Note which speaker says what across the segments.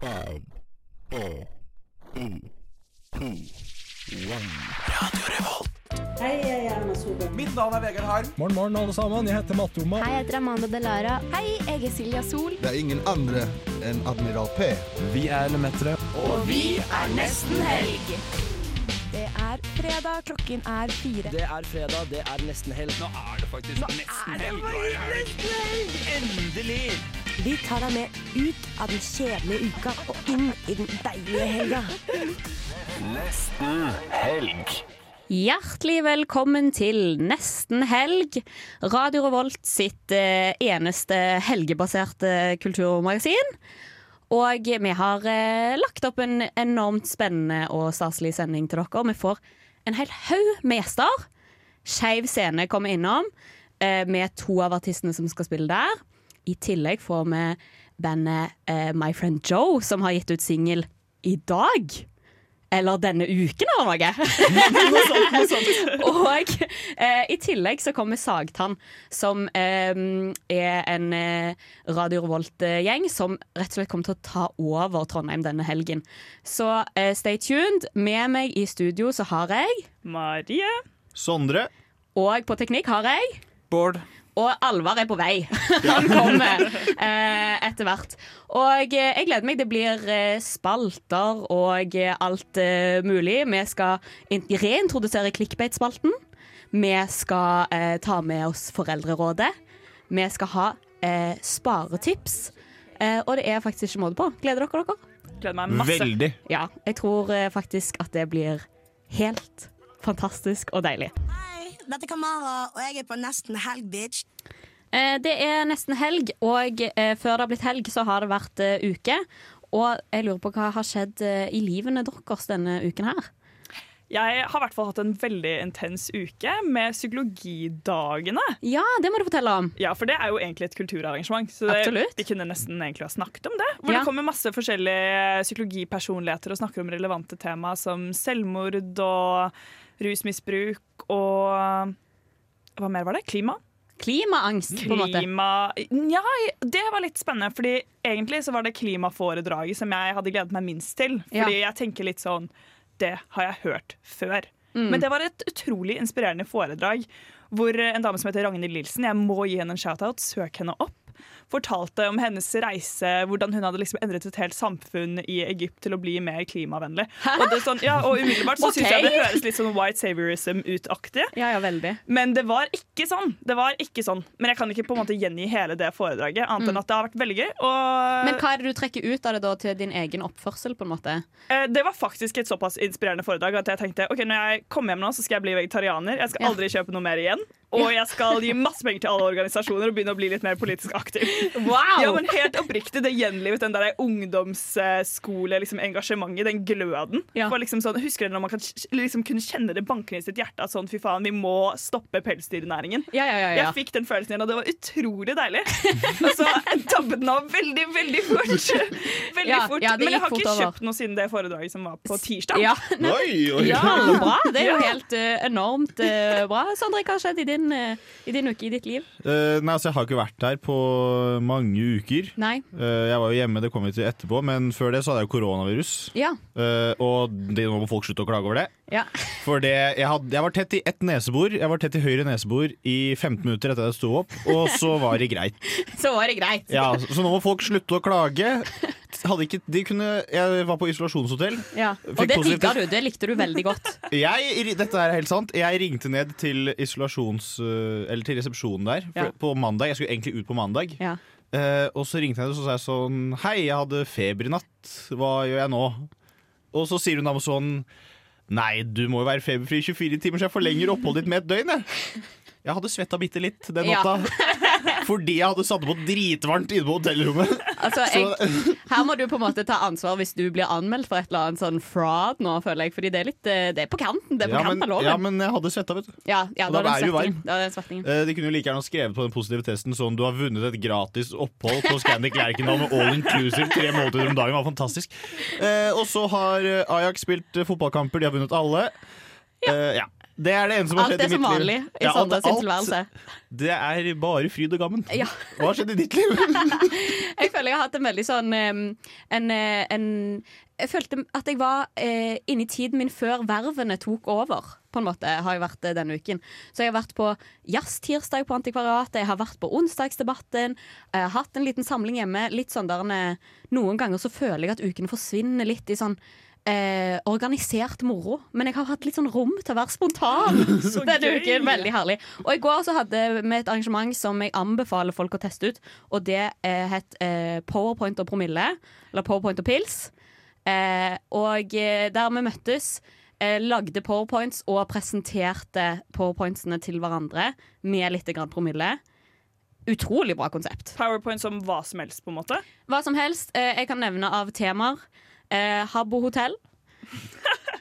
Speaker 1: Five, four, three, two, one.
Speaker 2: Hei, jeg er Erna Solberg.
Speaker 3: Mitt navn er Vegard Harm.
Speaker 4: Morgen, morgen, alle sammen. Jeg heter Matte Oma.
Speaker 5: Hei, jeg heter Amanda Delara. Hei, jeg er Silja Sol.
Speaker 6: Det er ingen andre enn Admiral P.
Speaker 4: Vi er Lemetere.
Speaker 5: Og vi er nesten helg. Det er fredag, klokken er fire.
Speaker 3: Det er fredag, det er nesten helg. Nå er det faktisk nesten helg. Endelig!
Speaker 7: Vi tar deg med ut av den kjedelige uka og inn i den deilige helga.
Speaker 8: Hjertelig velkommen til Nesten helg, Radio Revolt sitt eh, eneste helgebaserte kulturmagasin. Og vi har eh, lagt opp en enormt spennende og staselig sending til dere. Vi får en hel haug med gjester. Skeiv scene kommer innom eh, med to av artistene som skal spille der. I tillegg får vi bandet eh, My Friend Joe, som har gitt ut singel i dag. Eller denne uken, eller noe. Og eh, i tillegg så kommer Sagtann, som eh, er en eh, Radio Revolt-gjeng som rett og slett kommer til å ta over Trondheim denne helgen. Så eh, stay tuned. Med meg i studio så har jeg
Speaker 9: Marie.
Speaker 10: Sondre.
Speaker 8: Og på teknikk har jeg
Speaker 3: Bård.
Speaker 8: og Alvar er på vei. Han kommer eh, etter hvert. Og eh, jeg gleder meg. Det blir eh, spalter og eh, alt eh, mulig. Vi skal in- reintrodusere clickbait-spalten. Vi skal eh, ta med oss Foreldrerådet. Vi skal ha eh, sparetips. Eh, og det er faktisk ikke måte på. Gleder dere dere?
Speaker 9: Gleder meg masse.
Speaker 10: Veldig.
Speaker 8: Ja, jeg tror eh, faktisk at det blir helt fantastisk og deilig.
Speaker 7: Hei, dette er Kamara, og jeg er på nesten helg, bitch.
Speaker 8: Eh, Det er nesten helg, og eh, før det har blitt helg, så har det vært eh, uke. Og jeg lurer på hva har skjedd eh, i livene deres denne uken her?
Speaker 9: Jeg har i hvert fall hatt en veldig intens uke med psykologidagene.
Speaker 8: Ja, det må du fortelle om.
Speaker 9: Ja, for det er jo egentlig et kulturarrangement. Så det,
Speaker 8: Absolutt.
Speaker 9: vi kunne nesten egentlig ha snakket om det. Hvor
Speaker 8: Ja.
Speaker 9: det kommer masse forskjellige psykologipersonligheter og snakker om relevante tema som selvmord og rusmisbruk og Hva mer var det? Klima?
Speaker 8: Klimaangst, på en måte.
Speaker 9: Klima Nja, det var litt spennende. Fordi egentlig så var det klimaforedraget som jeg hadde gledet meg minst til. Fordi jeg tenker litt sånn Det har jeg hørt før.
Speaker 8: Mm.
Speaker 9: Men det var et utrolig inspirerende foredrag hvor en dame som heter Ragnhild Nilsen, jeg må gi henne en shout-out, søk henne opp, fortalte om hennes reise, hvordan hun hadde liksom endret et helt samfunn i Egypt til å bli mer klimavennlig. Og, det er sånn, ja, og umiddelbart så syns jeg det
Speaker 8: Ok.
Speaker 9: høres litt sånn white saviorism utaktig.
Speaker 8: Ja, ja, veldig.
Speaker 9: Men det var ikke sånn. Det var ikke sånn. Men jeg kan ikke på en måte gjengi hele det foredraget, annet enn at det har vært veldig gøy.
Speaker 8: Mm.
Speaker 9: Og
Speaker 8: Men hva er det du trekker ut av det da til din egen oppførsel, på en måte?
Speaker 9: eh, det var faktisk et såpass inspirerende foredrag at jeg tenkte ok, når jeg kommer hjem nå, så skal jeg bli vegetarianer. Jeg skal
Speaker 8: Ja.
Speaker 9: aldri kjøpe noe mer igjen. Og jeg skal gi masse penger til alle organisasjoner og begynne å bli litt mer politisk aktiv.
Speaker 8: Wow!
Speaker 9: Ja, men helt oppriktig, det gjenlivet den der ungdomsskole-engasjementet, liksom, engasjementet, den gløden.
Speaker 8: Ja.
Speaker 9: For liksom sånn, husker dere når man kan, kj- liksom kunne kjenne det bankende i sitt hjerte at sånn, fy faen, vi må stoppe pelsdyrnæringen?
Speaker 8: Ja, ja, ja, ja.
Speaker 9: Jeg fikk den følelsen igjen, og det var utrolig deilig. Og så dabbet den av veldig, veldig fort. Veldig
Speaker 8: Ja,
Speaker 9: fort.
Speaker 8: ja, det
Speaker 9: Men jeg har
Speaker 8: gikk fort
Speaker 9: ikke
Speaker 8: over.
Speaker 9: kjøpt noe siden det foredraget som var på tirsdag.
Speaker 8: Ja,
Speaker 10: Oi, oi.
Speaker 8: ja bra. Det er jo helt eh, enormt eh, bra. Sondre, hva har skjedd i din, eh, i din uke, i ditt liv?
Speaker 10: Eh, nei, altså, jeg har ikke vært her på mange uker.
Speaker 8: Nei.
Speaker 10: Eh, jeg var jo hjemme, det kom vi til etterpå, men før det så hadde jeg jo koronavirus.
Speaker 8: Ja.
Speaker 10: Eh, og det, nå må folk slutte å klage over det.
Speaker 8: Ja.
Speaker 10: For det, jeg, hadde, jeg var tett i ett nesebor. Jeg var tett i høyre nesebor i 15 minutter etter jeg sto opp, og så var det greit.
Speaker 8: Så var det greit.
Speaker 10: Ja, så så nå må folk slutte å klage. Hadde ikke, de kunne, jeg var på isolasjonshotell.
Speaker 8: Ja. Og
Speaker 10: Fikk
Speaker 8: det
Speaker 10: positivt-
Speaker 8: digga du. Det likte du veldig godt.
Speaker 10: Jeg, dette er helt sant. Jeg ringte ned til isolasjons... øh, Eller til resepsjonen der for,
Speaker 8: Ja.
Speaker 10: på mandag. Jeg skulle egentlig ut på mandag.
Speaker 8: Ja.
Speaker 10: Eh, og så ringte jeg og så sa jeg sånn Hei, jeg hadde feber i natt. Hva gjør jeg nå? Og så sier hun da sånn Nei, du må jo være feberfri i 24 timer, så jeg forlenger oppholdet ditt med et døgn. Jeg, jeg hadde svetta bitte litt den
Speaker 8: Ja.
Speaker 10: natta. Fordi jeg hadde satt på dritvarmt inne på hotellrommet.
Speaker 8: Altså, jeg, her må du på en måte ta ansvar hvis du blir anmeldt for et eller annet sånn fraud nå, føler jeg. Fordi det er litt eh, Det er på kanten. Det er på
Speaker 10: Ja, men,
Speaker 8: kanten av
Speaker 10: ja,
Speaker 8: loven.
Speaker 10: men jeg hadde svetta, vet du.
Speaker 8: Ja, ja, da
Speaker 10: og
Speaker 8: er
Speaker 10: da
Speaker 8: den
Speaker 10: er du
Speaker 8: svettingen.
Speaker 10: varm.
Speaker 8: Da er den svettingen.
Speaker 10: Eh, De kunne jo like gjerne ha skrevet på den positive testen sånn Du har vunnet et gratis opphold på Scandic Lerkendal med all inclusive tre måltider om dagen. Det var fantastisk. Eh, og så har eh, Ajax spilt eh, fotballkamper, de har vunnet alle. Eh, ja. Det er det eneste som har
Speaker 8: Alt
Speaker 10: skjedd
Speaker 8: er
Speaker 10: i mitt
Speaker 8: som
Speaker 10: liv.
Speaker 8: vanlig i
Speaker 10: Ja, at
Speaker 8: Sandra sin
Speaker 10: alt-
Speaker 8: tilværelse.
Speaker 10: Det er bare fryd og gammen.
Speaker 8: Ja.
Speaker 10: Hva har skjedd i ditt liv?
Speaker 8: Jeg føler jeg har hatt en veldig sånn em, en, eh, en, Jeg følte at jeg var eh, inne i tiden min før vervene tok over. På en måte har jeg vært eh, denne uken. Så jeg har vært på jazztirsdag på Antikvariatet, jeg har vært på onsdagsdebatten, jeg har hatt en liten samling hjemme. Litt sånn der, en, eh, Noen ganger så føler jeg at ukene forsvinner litt i sånn Eh, organisert moro, men jeg har hatt litt sånn rom til å være spontan.
Speaker 9: Så
Speaker 8: denne
Speaker 9: gøy!
Speaker 8: uken, Veldig herlig. Og i går så hadde vi et arrangement som jeg anbefaler folk å teste ut, og det eh, het eh, Powerpoint og promille. Eller Powerpoint og pils. Eh, og eh, der vi møttes, eh, lagde powerpoints og presenterte powerpointsene til hverandre med litt grann promille. Utrolig bra konsept.
Speaker 9: Powerpoint som hva som helst, på en måte.
Speaker 8: Hva som helst. Eh, jeg kan nevne av temaer. Eh, Habbo hotell.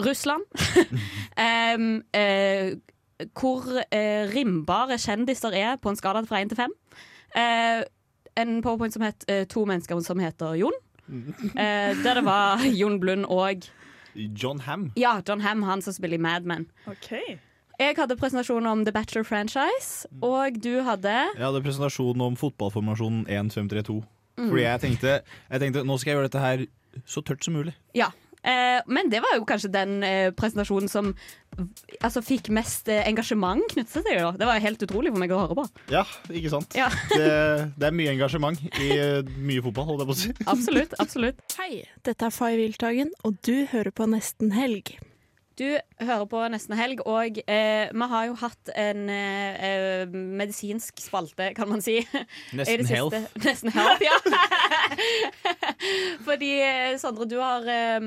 Speaker 8: Russland. Em, eh, hvor eh, rimbare kjendiser er på en skala fra én til fem. Eh, en powerpoint som het eh, To mennesker som heter Jon. Eh, der det var Jon Blund og
Speaker 10: John Ham.
Speaker 8: ja, John Ham, han som spiller i Mad Men.
Speaker 9: Ok.
Speaker 8: Jeg hadde presentasjon om The Bachelor franchise, og du hadde
Speaker 10: Jeg hadde presentasjon om fotballformasjonen 1-5-3-2.
Speaker 8: Mm.
Speaker 10: Fordi jeg tenkte, jeg tenkte nå skal jeg gjøre dette her så tørt som mulig.
Speaker 8: Ja. Eh, men det var jo kanskje den eh, presentasjonen som v- altså, fikk mest eh, engasjement knyttet til det. da. Det var jo helt utrolig for meg å høre på.
Speaker 10: Ja, ikke sant?
Speaker 8: Ja.
Speaker 10: Det, det er mye engasjement i eh, mye fotball, holdt jeg på å si.
Speaker 8: Absolutt. absolutt.
Speaker 11: Hei, dette er Fay Wiltagen, og du hører på Nesten Helg.
Speaker 8: Du hører på Nesten Helg, og eh, vi har jo hatt en eh, eh, medisinsk spalte, kan man si.
Speaker 10: Nesten
Speaker 8: i det siste.
Speaker 10: Health.
Speaker 8: Nesten health, ja. Fordi, eh, Sondre, du har eh,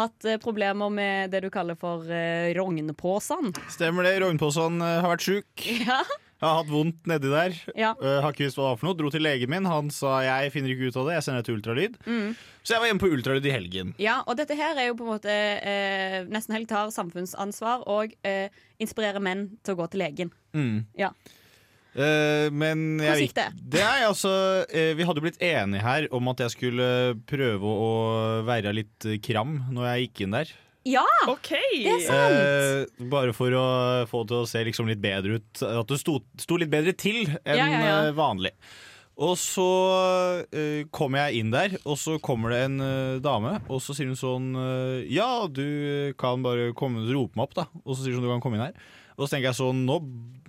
Speaker 8: hatt eh, problemer med det du kaller for eh, rognpåsen.
Speaker 10: Stemmer det. Rognpåsen eh, har vært sjuk.
Speaker 8: Ja.
Speaker 10: Jeg har hatt vondt nedi der.
Speaker 8: Ja.
Speaker 10: Eh, har ikke visst hva det var for noe. Dro til legen min. Han sa jeg finner ikke ut av det, jeg sender deg til ultralyd.
Speaker 8: Mm.
Speaker 10: Så jeg var hjemme på ultralyd i helgen.
Speaker 8: Ja, og dette her er jo på en måte eh, Nesten helg tar samfunnsansvar og eh, inspirerer menn til å gå til legen.
Speaker 10: Mm.
Speaker 8: Ja.
Speaker 10: Eh, men jeg
Speaker 8: Hvordan gikk det?
Speaker 10: Det er altså eh, Vi hadde blitt enige her om at jeg skulle prøve å være litt eh, kram når jeg gikk inn der.
Speaker 8: Ja!
Speaker 9: Ok!
Speaker 8: Det er sant!
Speaker 10: Eh, bare for å få det til å se liksom litt bedre ut. At det sto, sto litt bedre til enn
Speaker 8: Ja, ja, ja.
Speaker 10: eh, vanlig. Og så eh, kommer jeg inn der, og så kommer det en eh, dame. Og så sier hun sånn eh, Ja, du kan bare komme rope meg opp, da. Og så sier hun sånn, du kan komme inn her. Og så tenker jeg sånn nå,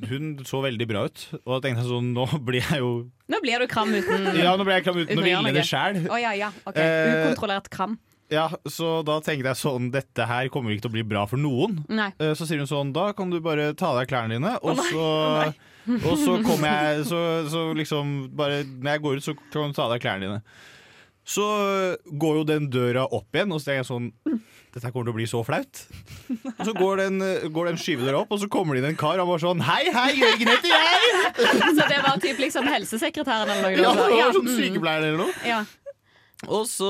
Speaker 10: Hun så veldig bra ut. Og da tenkte jeg sånn Nå blir jeg jo
Speaker 8: Nå blir du kram uten
Speaker 10: Ja, nå ble jeg klam
Speaker 8: uten
Speaker 10: uten
Speaker 8: å
Speaker 10: å
Speaker 8: gjøre
Speaker 10: ville det
Speaker 8: noe.
Speaker 10: sjæl.
Speaker 8: Å ja, ja. ok.
Speaker 10: Eh,
Speaker 8: Ukontrollert kram.
Speaker 10: Ja, så da tenkte jeg sånn Dette her kommer ikke til å bli bra for noen.
Speaker 8: Nei.
Speaker 10: Eh, Så sier hun sånn Da kan du bare ta av deg klærne dine Og så, eh, og så kommer jeg så, så liksom bare Når jeg går ut så kan du ta av deg klærne dine Så går jo den døra opp igjen Og så tenker jeg sånn Dette her kommer til å bli så flaut Og så går den, går den skyvedøra opp Og så kommer det inn en kar og han bare sånn Hei, hei, Jørgen heter jeg
Speaker 8: Så det var typ liksom helsesekretæren eller noe?
Speaker 10: Ja,
Speaker 8: altså.
Speaker 10: det var sånn
Speaker 8: mm,
Speaker 10: sykepleier eller noe
Speaker 8: ja.
Speaker 10: Og så,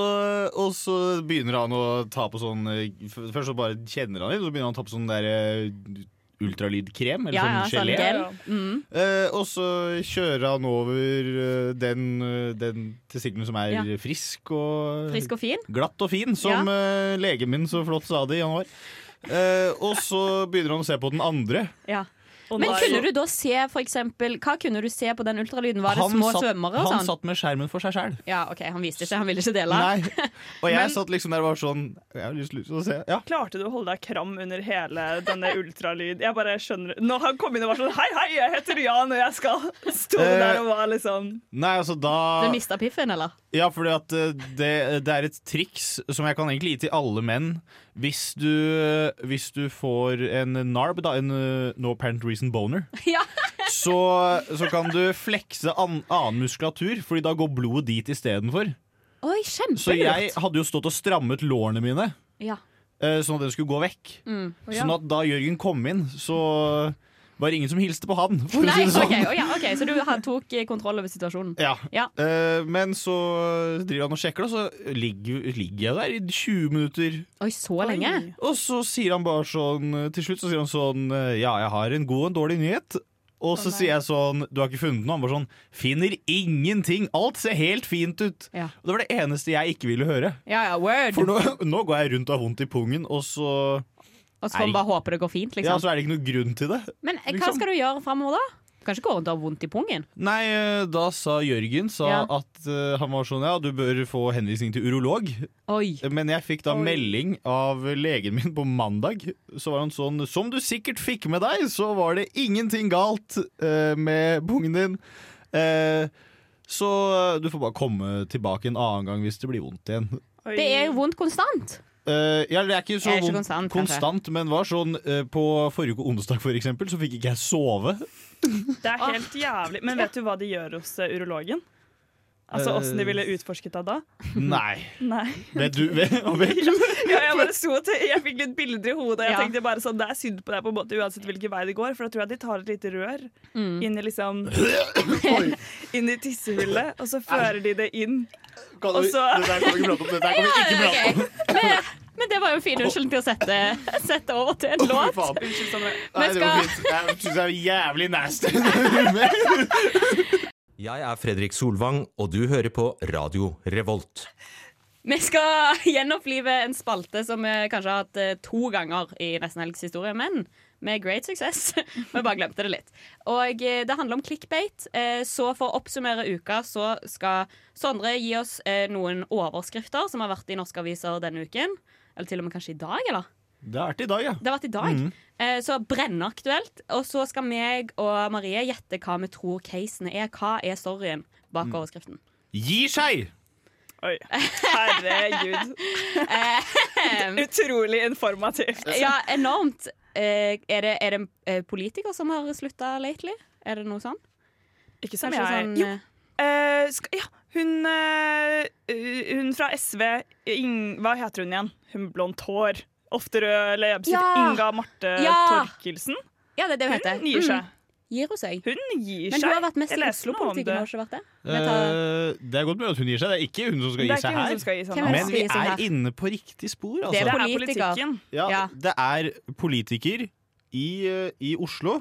Speaker 10: og så begynner han å ta på sånn eh, f- Først så bare kjenner han litt, og så begynner han å ta på sånn der eh, ultralydkrem, eller
Speaker 8: ja, ja,
Speaker 10: sånn
Speaker 8: sånn
Speaker 10: gelé.
Speaker 8: gel.
Speaker 9: ja.
Speaker 8: Mm.
Speaker 10: Eh, og så kjører han over eh, den, eh, den testikkelen som er
Speaker 8: Ja.
Speaker 10: frisk og
Speaker 8: Frisk og fin.
Speaker 10: glatt og fin, som eh, legen min så flott sa det i januar. Eh, og så begynner han å se på den andre.
Speaker 8: Ja. Men kunne du da se for eksempel Hva kunne du se på den ultralyden? Var det små
Speaker 10: satt,
Speaker 8: svømmere og
Speaker 10: han
Speaker 8: sånn?
Speaker 10: satt med skjermen for seg sjæl.
Speaker 8: Ja, OK, han viste ikke. Han ville ikke dele.
Speaker 10: Nei. Og jeg
Speaker 8: Men-
Speaker 10: satt liksom der og var sånn Jeg har lyst lyst til å se. Ja.
Speaker 9: Klarte du å holde deg kram under hele denne ultralyd? Jeg bare skjønner Når han kom inn og var sånn Hei, hei, jeg heter Jan, og jeg skal stå
Speaker 10: Eh,
Speaker 9: der og være liksom
Speaker 10: Nei, altså da
Speaker 8: Du mista piffen, eller?
Speaker 10: Ja, fordi at eh, det, det er et triks som jeg kan egentlig gi til alle menn. Hvis du, hvis du får en NARB, da, en eh, no apparent reason boner,
Speaker 8: Ja.
Speaker 10: så, så kan du flekse an, annen muskulatur, Fordi da går blodet dit istedenfor.
Speaker 8: Oi,
Speaker 10: Så jeg
Speaker 8: kjempelurt.
Speaker 10: hadde jo stått og strammet lårene mine,
Speaker 8: Ja.
Speaker 10: eh, sånn at den skulle gå vekk.
Speaker 8: Mm.
Speaker 10: Sånn at da Jørgen kom inn, så var det ingen som hilste på han, for å
Speaker 8: Nei,
Speaker 10: si det sånn.
Speaker 8: ok, å ja, ok, Så du har- tok eh, kontroll over situasjonen?
Speaker 10: Ja.
Speaker 8: Ja.
Speaker 10: Eh, men så driver han og sjekker, det, og så ligger, ligger jeg der i 20 minutter.
Speaker 8: Oi, så lenge?
Speaker 10: Og så sier han bare sånn Til slutt så sier han sånn Ja, jeg har en god og en dårlig nyhet. Og så sier jeg sånn Du har ikke funnet noe? Han bare sånn Finner ingenting! Alt ser helt fint ut!
Speaker 8: Ja.
Speaker 10: Og det var det eneste jeg ikke ville høre.
Speaker 8: Ja ja, word.
Speaker 10: For nå, nå går jeg rundt og har vondt i pungen, og så
Speaker 8: Og så får man bare håpe det går fint. Liksom.
Speaker 10: Ja, så er det ikke noen grunn til det.
Speaker 8: Men eh, hva
Speaker 10: Liksom.
Speaker 8: skal du gjøre framover, da? Kanskje gå rundt og ha vondt i pungen?
Speaker 10: Nei, eh, da sa Jørgen sa
Speaker 8: Ja.
Speaker 10: at eh, han var sånn Ja, du bør få henvisning til urolog. Men jeg fikk da
Speaker 8: Oi.
Speaker 10: melding av legen min på mandag. Så var han sånn Som du sikkert fikk med deg, så var det ingenting galt eh, med pungen din. Eh, så eh, du får bare komme tilbake en annen gang hvis det blir vondt igjen.
Speaker 8: Det er jo vondt konstant.
Speaker 10: Eh, ja, det er ikke så
Speaker 8: Er det ikke
Speaker 10: vondt-
Speaker 8: konstant, kanskje?
Speaker 10: konstant, men var sånn eh, på forrige uke onsdag for eksempel, så fikk ikke jeg sove.
Speaker 9: Det er
Speaker 8: ah.
Speaker 9: helt jævlig. Men vet du hva de gjør hos eh, urologen? Altså
Speaker 10: Eh.
Speaker 9: åssen de ville utforsket deg da?
Speaker 10: Nei.
Speaker 9: Nei.
Speaker 10: Vet du, vet, vet du?
Speaker 9: Ja, jeg bare så at jeg fikk litt bilder i hodet. Jeg
Speaker 10: Ja.
Speaker 9: tenkte bare sånn, Det er synd på deg på en måte uansett hvilken vei det går, for da tror jeg de tar et lite rør
Speaker 8: Mm.
Speaker 9: inn i liksom Inn i tissehullet, og så fører de det inn.
Speaker 10: Kan du- det der kan vi ikke prate om, det der kan vi ikke prate om.
Speaker 8: Men, men det var jo en fin unnskyldning til å sette, sette over til en
Speaker 10: Å, fy
Speaker 8: låt.
Speaker 10: faen. Nei,
Speaker 8: Men
Speaker 10: det var
Speaker 8: skal,
Speaker 10: fint. Jeg syns det er jævlig nasty.
Speaker 12: Jeg er Fredrik Solvang, og du hører på Radio Revolt.
Speaker 8: vi skal gjenopplive en spalte som vi kanskje har hatt eh, to ganger i Nesten Helgs historie, men med great success. Vi bare glemte det litt. Og eh, det handler om clickbait. Eh, Så for å oppsummere uka så skal Sondre gi oss eh, noen overskrifter som har vært i norske aviser denne uken. Eller til og med kanskje i dag, eller?
Speaker 10: Det har vært i dag, ja.
Speaker 8: Det har vært i dag.
Speaker 3: Mm.
Speaker 10: Mhm.
Speaker 8: Eh, Så brennaktuelt. Og så skal meg og Marie gjette hva vi tror casene er. Hva er storyen bak
Speaker 10: Mm.
Speaker 8: overskriften?
Speaker 10: Gir seg!
Speaker 9: Oi. Herregud. Utrolig informativt.
Speaker 8: Ehm. Ja, enormt. Eh, Er det, er det en eh, politiker som har slutta lately? Er det noe sånn?
Speaker 9: Ikke som
Speaker 8: Kanskje
Speaker 9: jeg.
Speaker 8: sånn,
Speaker 9: Jo.
Speaker 8: eh,
Speaker 9: Eh, skal, ja, hun, eh, hun fra SV Ing, Hva heter hun igjen? Hun med blondt hår. Ofte rød leppestift.
Speaker 8: Ja.
Speaker 9: Inga Marte
Speaker 8: Ja.
Speaker 9: Torkelsen.
Speaker 8: Ja, det er det hun heter.
Speaker 9: Hun gir seg.
Speaker 8: Mm. Gir hun seg?
Speaker 9: Hun gir
Speaker 8: Men hun
Speaker 9: seg.
Speaker 8: har vært mest
Speaker 9: Jeg
Speaker 8: i
Speaker 9: leste noe om
Speaker 8: Oslo-politikken,
Speaker 9: det.
Speaker 8: har hun ikke vært det?
Speaker 10: Eh, det er godt mulig at hun gir seg. Det er ikke hun som skal
Speaker 9: Det er
Speaker 10: gi seg
Speaker 9: ikke hun
Speaker 10: her.
Speaker 9: som skal gi seg nå. Hvem er det
Speaker 10: Men
Speaker 9: som
Speaker 10: vi
Speaker 9: skal gi seg
Speaker 10: er
Speaker 9: her?
Speaker 10: inne på riktig spor, altså.
Speaker 9: Det er politiker. Det er politikken.
Speaker 10: Ja,
Speaker 9: Ja.
Speaker 10: det er politiker i, eh, i Oslo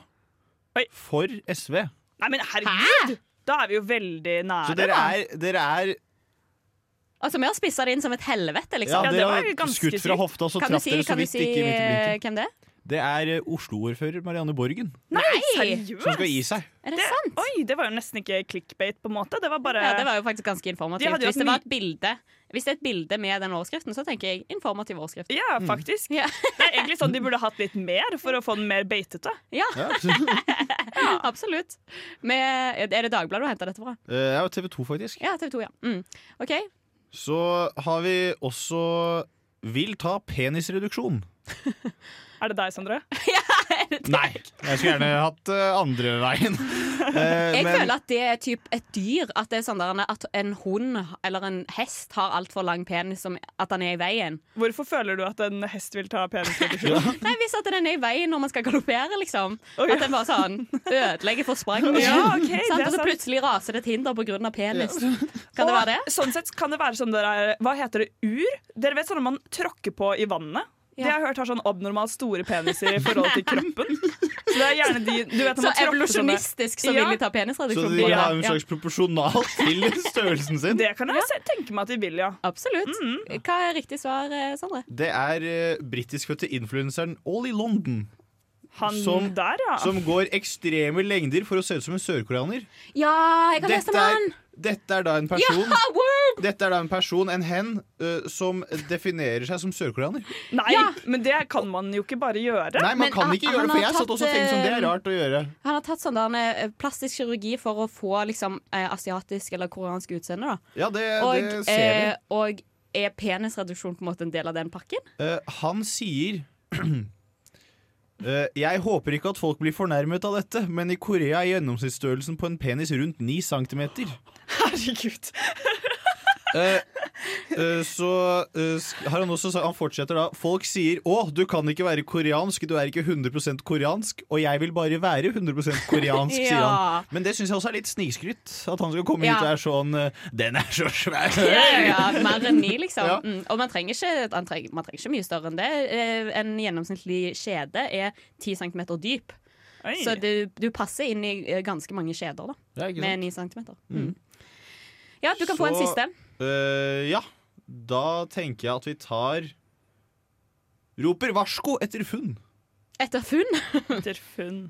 Speaker 10: for SV.
Speaker 9: Nei, men herregud! Da er vi jo veldig nære.
Speaker 10: Så dere
Speaker 9: da.
Speaker 10: er, dere er
Speaker 8: Altså, Vi har spissa det inn som et helvete, liksom.
Speaker 10: Ja, Ja, det dere var har ganske skutt fra sykt. hofta, så
Speaker 8: Kan du
Speaker 10: traff
Speaker 8: si,
Speaker 10: dere så
Speaker 8: kan du
Speaker 10: vidt
Speaker 8: si
Speaker 10: ikke i midt i
Speaker 8: eh,
Speaker 10: blinken.
Speaker 8: hvem det er?
Speaker 10: Det er eh, Oslo-ordfører Marianne Borgen
Speaker 9: Nei,
Speaker 10: som skal gi seg.
Speaker 8: Er det, sant?
Speaker 9: Oi, det var jo nesten ikke clickbait, på en måte. Det var bare
Speaker 8: Ja, det var jo faktisk ganske
Speaker 9: De
Speaker 8: informativt.
Speaker 9: hadde jo
Speaker 8: Hvis
Speaker 9: hatt
Speaker 8: det, var et bilde, hvis det er et bilde med den overskriften, så tenker jeg informativ overskrift. Mm.
Speaker 9: Ja, faktisk. Det er egentlig sånn de burde hatt litt mer for å få den mer beitete.
Speaker 8: Ja. Absolutt. Med, er det Dagbladet du henter dette fra?
Speaker 10: Eh, Ja, TV 2, faktisk.
Speaker 8: Ja, TV 2, ja. Mm. OK.
Speaker 10: Så har vi også Vil ta penisreduksjon.
Speaker 9: Er det deg, Sondre?
Speaker 10: Nei, jeg skulle gjerne hatt eh, andre veien. Eh,
Speaker 8: Jeg
Speaker 10: men-
Speaker 8: føler at det er typ et dyr. At det er sånn der, at en hund eller en hest har altfor lang penis, som at den er i veien.
Speaker 9: Hvorfor føler du at en hest vil ta penisreduksjon?
Speaker 8: Nei, Hvis at den er i veien når man skal galoppere, liksom.
Speaker 9: ja.
Speaker 8: At den bare sånn ødelegger for sprang.
Speaker 9: Ja, ok, det
Speaker 8: sant?
Speaker 9: er
Speaker 8: Og så
Speaker 9: sant.
Speaker 8: plutselig raser det et hinder pga. penis.
Speaker 9: Ja.
Speaker 8: Kan det
Speaker 9: Og
Speaker 8: være det?
Speaker 9: Sånn sett kan det være som dere er Hva heter det? Ur? Dere vet sånne man tråkker på i vannet? De jeg har hørt har sånn abnormalt store peniser i forhold til kroppen. Så det er gjerne de du vet,
Speaker 8: Så
Speaker 9: når man tråkker sånne-
Speaker 8: evolusjonistisk så vil de ta
Speaker 10: Så
Speaker 8: penisreduksjon.
Speaker 10: de har en slags proporsjonal til størrelsen sin.
Speaker 9: Det kan jeg se- tenke meg at de vil, ja.
Speaker 8: Absolutt.
Speaker 9: Mm.
Speaker 8: Hva er riktig svar, eh, Sondre?
Speaker 10: Det er uh, britiskfødte influenseren Ollie London.
Speaker 9: Han der, ja.
Speaker 10: Som går ekstreme lengder for å se ut som en sørkoreaner.
Speaker 8: Ja, jeg kan lese
Speaker 10: Dette,
Speaker 8: om
Speaker 10: er-
Speaker 8: han!
Speaker 10: dette er da en person
Speaker 8: Ja, word!
Speaker 10: Dette er da en person, en hen, eh, som definerer seg som sørkoreaner.
Speaker 9: Nei, men det kan man jo ikke bare gjøre.
Speaker 10: Nei, man
Speaker 8: ah,
Speaker 10: kan ikke gjøre det, for jeg satt også og tenkte sånn, det
Speaker 8: eh,
Speaker 10: er rart å gjøre.
Speaker 8: Han har tatt sånn der, eh, plastisk kirurgi for å få liksom, eh, asiatisk eller koreansk utseende. Da.
Speaker 10: Ja, det,
Speaker 8: og,
Speaker 10: det ser vi.
Speaker 8: eh, og er penisreduksjon på en måte en del av den pakken?
Speaker 10: Eh, han sier eh, Jeg håper ikke at folk blir fornærmet av dette, men i Korea er gjennomsnittsstørrelsen på en penis rundt 9 cm.
Speaker 9: Herregud.
Speaker 10: så eh, sk- har han også sa- Han fortsetter da. Folk sier 'Å, du kan ikke være koreansk, du er ikke 100 koreansk', og jeg vil bare være 100 koreansk, sier
Speaker 8: Ja.
Speaker 10: han. Men det syns jeg også er litt snikskryt. At han skal komme
Speaker 8: Ja.
Speaker 10: hit og er sånn eh, 'Den er så svær'.
Speaker 8: Ja, ja, ja, mer enn ni, liksom.
Speaker 10: Ja.
Speaker 8: Mm. Og man trenger, ikke, man, trenger, man trenger ikke mye større enn det. Eh, En gjennomsnittlig skjede er 10 cm dyp.
Speaker 9: Oi.
Speaker 8: Så du, du passer inn i eh, ganske mange skjeder da,
Speaker 10: Ja, ikke sant?
Speaker 8: med 9 cm.
Speaker 10: Mm.
Speaker 8: Ja, du kan få en
Speaker 10: Så,
Speaker 8: siste.
Speaker 10: eh, ja. Da tenker jeg at vi tar Roper varsko etter funn.
Speaker 8: Etter funn?
Speaker 9: etter funn.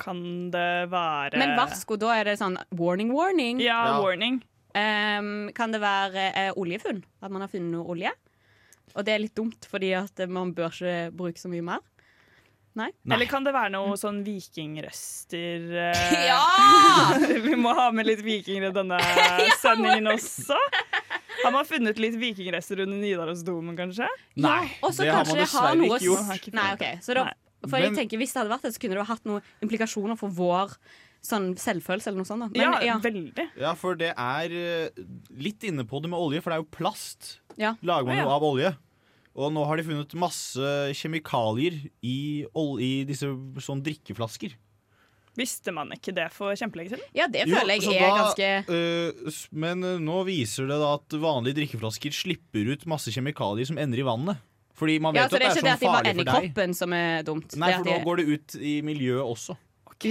Speaker 9: Kan det være
Speaker 8: Men varsko, da er det sånn warning, warning.
Speaker 9: Ja, warning.
Speaker 8: Um, kan det være eh, oljefunn? At man har funnet noe olje? Og det er litt dumt, fordi at man bør ikke bruke så mye mer. Nei. Nei.
Speaker 9: Eller kan det være noe sånn vikingrøster
Speaker 8: eh? Ja!
Speaker 9: Vi må ha med litt vikinger i denne sendingen også. Har man funnet litt vikingrester under Nidarosdomen, kanskje?
Speaker 10: Nei,
Speaker 8: ja. Også
Speaker 10: det har man
Speaker 8: kanskje
Speaker 10: dessverre
Speaker 8: noe...
Speaker 10: ikke gjort.
Speaker 8: Nei, ok. Så da,
Speaker 10: Nei.
Speaker 8: for jeg
Speaker 10: Men-
Speaker 8: tenker, Hvis det hadde vært det, så kunne det ha hatt noen implikasjoner for vår sånn, selvfølelse. eller noe sånt. Da. Men,
Speaker 10: Ja,
Speaker 9: veldig.
Speaker 10: Ja, for det er eh, litt inne på det med olje, for det er jo plast.
Speaker 8: Ja.
Speaker 10: Lager man
Speaker 8: Ja, ja.
Speaker 10: noe av olje. Og nå har de funnet masse kjemikalier i, ol i disse sånn drikkeflasker.
Speaker 9: Visste man ikke det for kjempelenge siden?
Speaker 8: Ja, det
Speaker 10: Jo, så da, eh, s- Men eh, nå viser det da at vanlige drikkeflasker slipper ut masse kjemikalier som ender i vannet. Fordi man vet
Speaker 8: ja, så
Speaker 10: at
Speaker 8: det er ikke
Speaker 10: sånn
Speaker 8: det at de bare ender
Speaker 10: farlig
Speaker 8: i
Speaker 10: for deg.
Speaker 8: kroppen som er dumt.
Speaker 10: Nei,
Speaker 8: Det
Speaker 10: for
Speaker 8: at
Speaker 10: nå
Speaker 8: de-
Speaker 10: går det ut i miljøet også.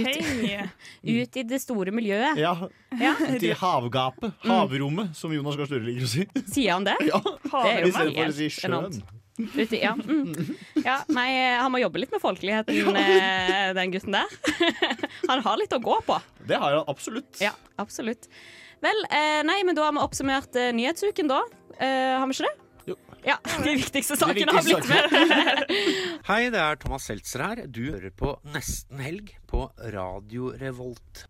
Speaker 8: ut, ut i det store miljøet.
Speaker 10: Ja. Mm.
Speaker 8: Ja.
Speaker 10: Ut i havgapet. Havrommet, som Jonas Gahr Støre liker å si.
Speaker 8: Sier han det?
Speaker 10: Ja,
Speaker 8: det er jo
Speaker 10: I stedet for å
Speaker 8: helt
Speaker 10: si sjøen.
Speaker 8: enormt. Ut i, ja. Mm. ja, nei, han må jobbe litt med folkeligheten, eh, den gutten der. Han har litt å gå på.
Speaker 10: Det har han absolutt.
Speaker 8: Ja, absolutt. Vel, eh, nei, men da har vi oppsummert eh, nyhetsuken, da. Eh, har vi ikke det?
Speaker 10: Jo.
Speaker 8: Ja, De viktigste
Speaker 12: De
Speaker 8: sakene har blitt med.
Speaker 12: Hei, det er Thomas Seltzer her. Du hører på Nesten Helg på Radio Revolt.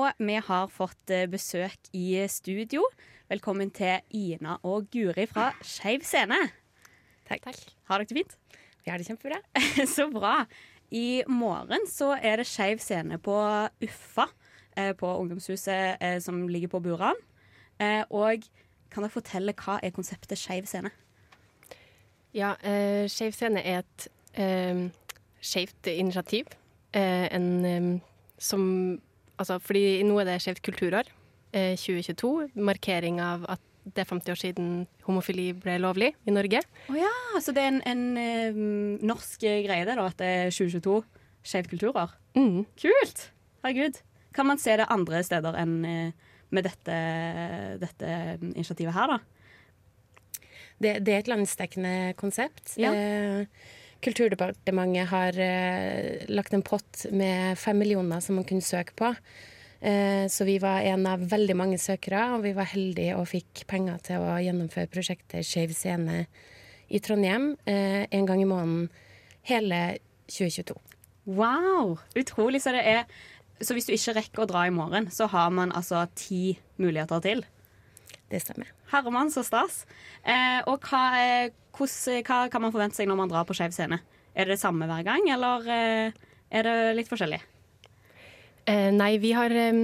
Speaker 8: Og vi har fått eh, besøk i studio. Velkommen til Ina og Guri fra Skeiv scene.
Speaker 13: Takk.
Speaker 8: Har dere det fint?
Speaker 13: Vi har det kjempebra.
Speaker 8: så bra. I morgen så er det Skeiv scene på Uffa, eh, på ungdomshuset eh, som ligger på Buran. Eh, og kan dere fortelle hva er konseptet Skeiv scene?
Speaker 13: Ja, uh, Skeiv scene er et uh, skeivt initiativ. eh, en eh, som Altså, fordi nå er det Skeivt kulturår eh, 2022. Markering av at det er 50 år siden homofili ble lovlig i Norge.
Speaker 8: Å ja, så det er en, en eh, norsk greie det da, at det er 2022 Skeivt kulturår. Kult! Herregud. Kan man se det andre steder enn eh, med dette, dette initiativet her, da?
Speaker 13: Det, det er et landsdekkende konsept.
Speaker 8: Ja.
Speaker 13: Eh, Kulturdepartementet har eh, lagt en pott med fem millioner som man kunne søke på. Eh, så vi var en av veldig mange søkere, og vi var heldige og fikk penger til å gjennomføre prosjektet Skeiv scene i Trondheim eh, en gang i måneden hele 2022.
Speaker 8: Wow! Utrolig. Så, det er, så hvis du ikke rekker å dra i morgen, så har man altså ti muligheter til.
Speaker 13: Det stemmer.
Speaker 8: Herremann, så stas. Eh, og hva, eh, hvordan, hva kan man forvente seg når man drar på Skeiv scene? Er det det samme hver gang, eller eh, er det litt forskjellig?
Speaker 13: Eh, nei, vi har eh,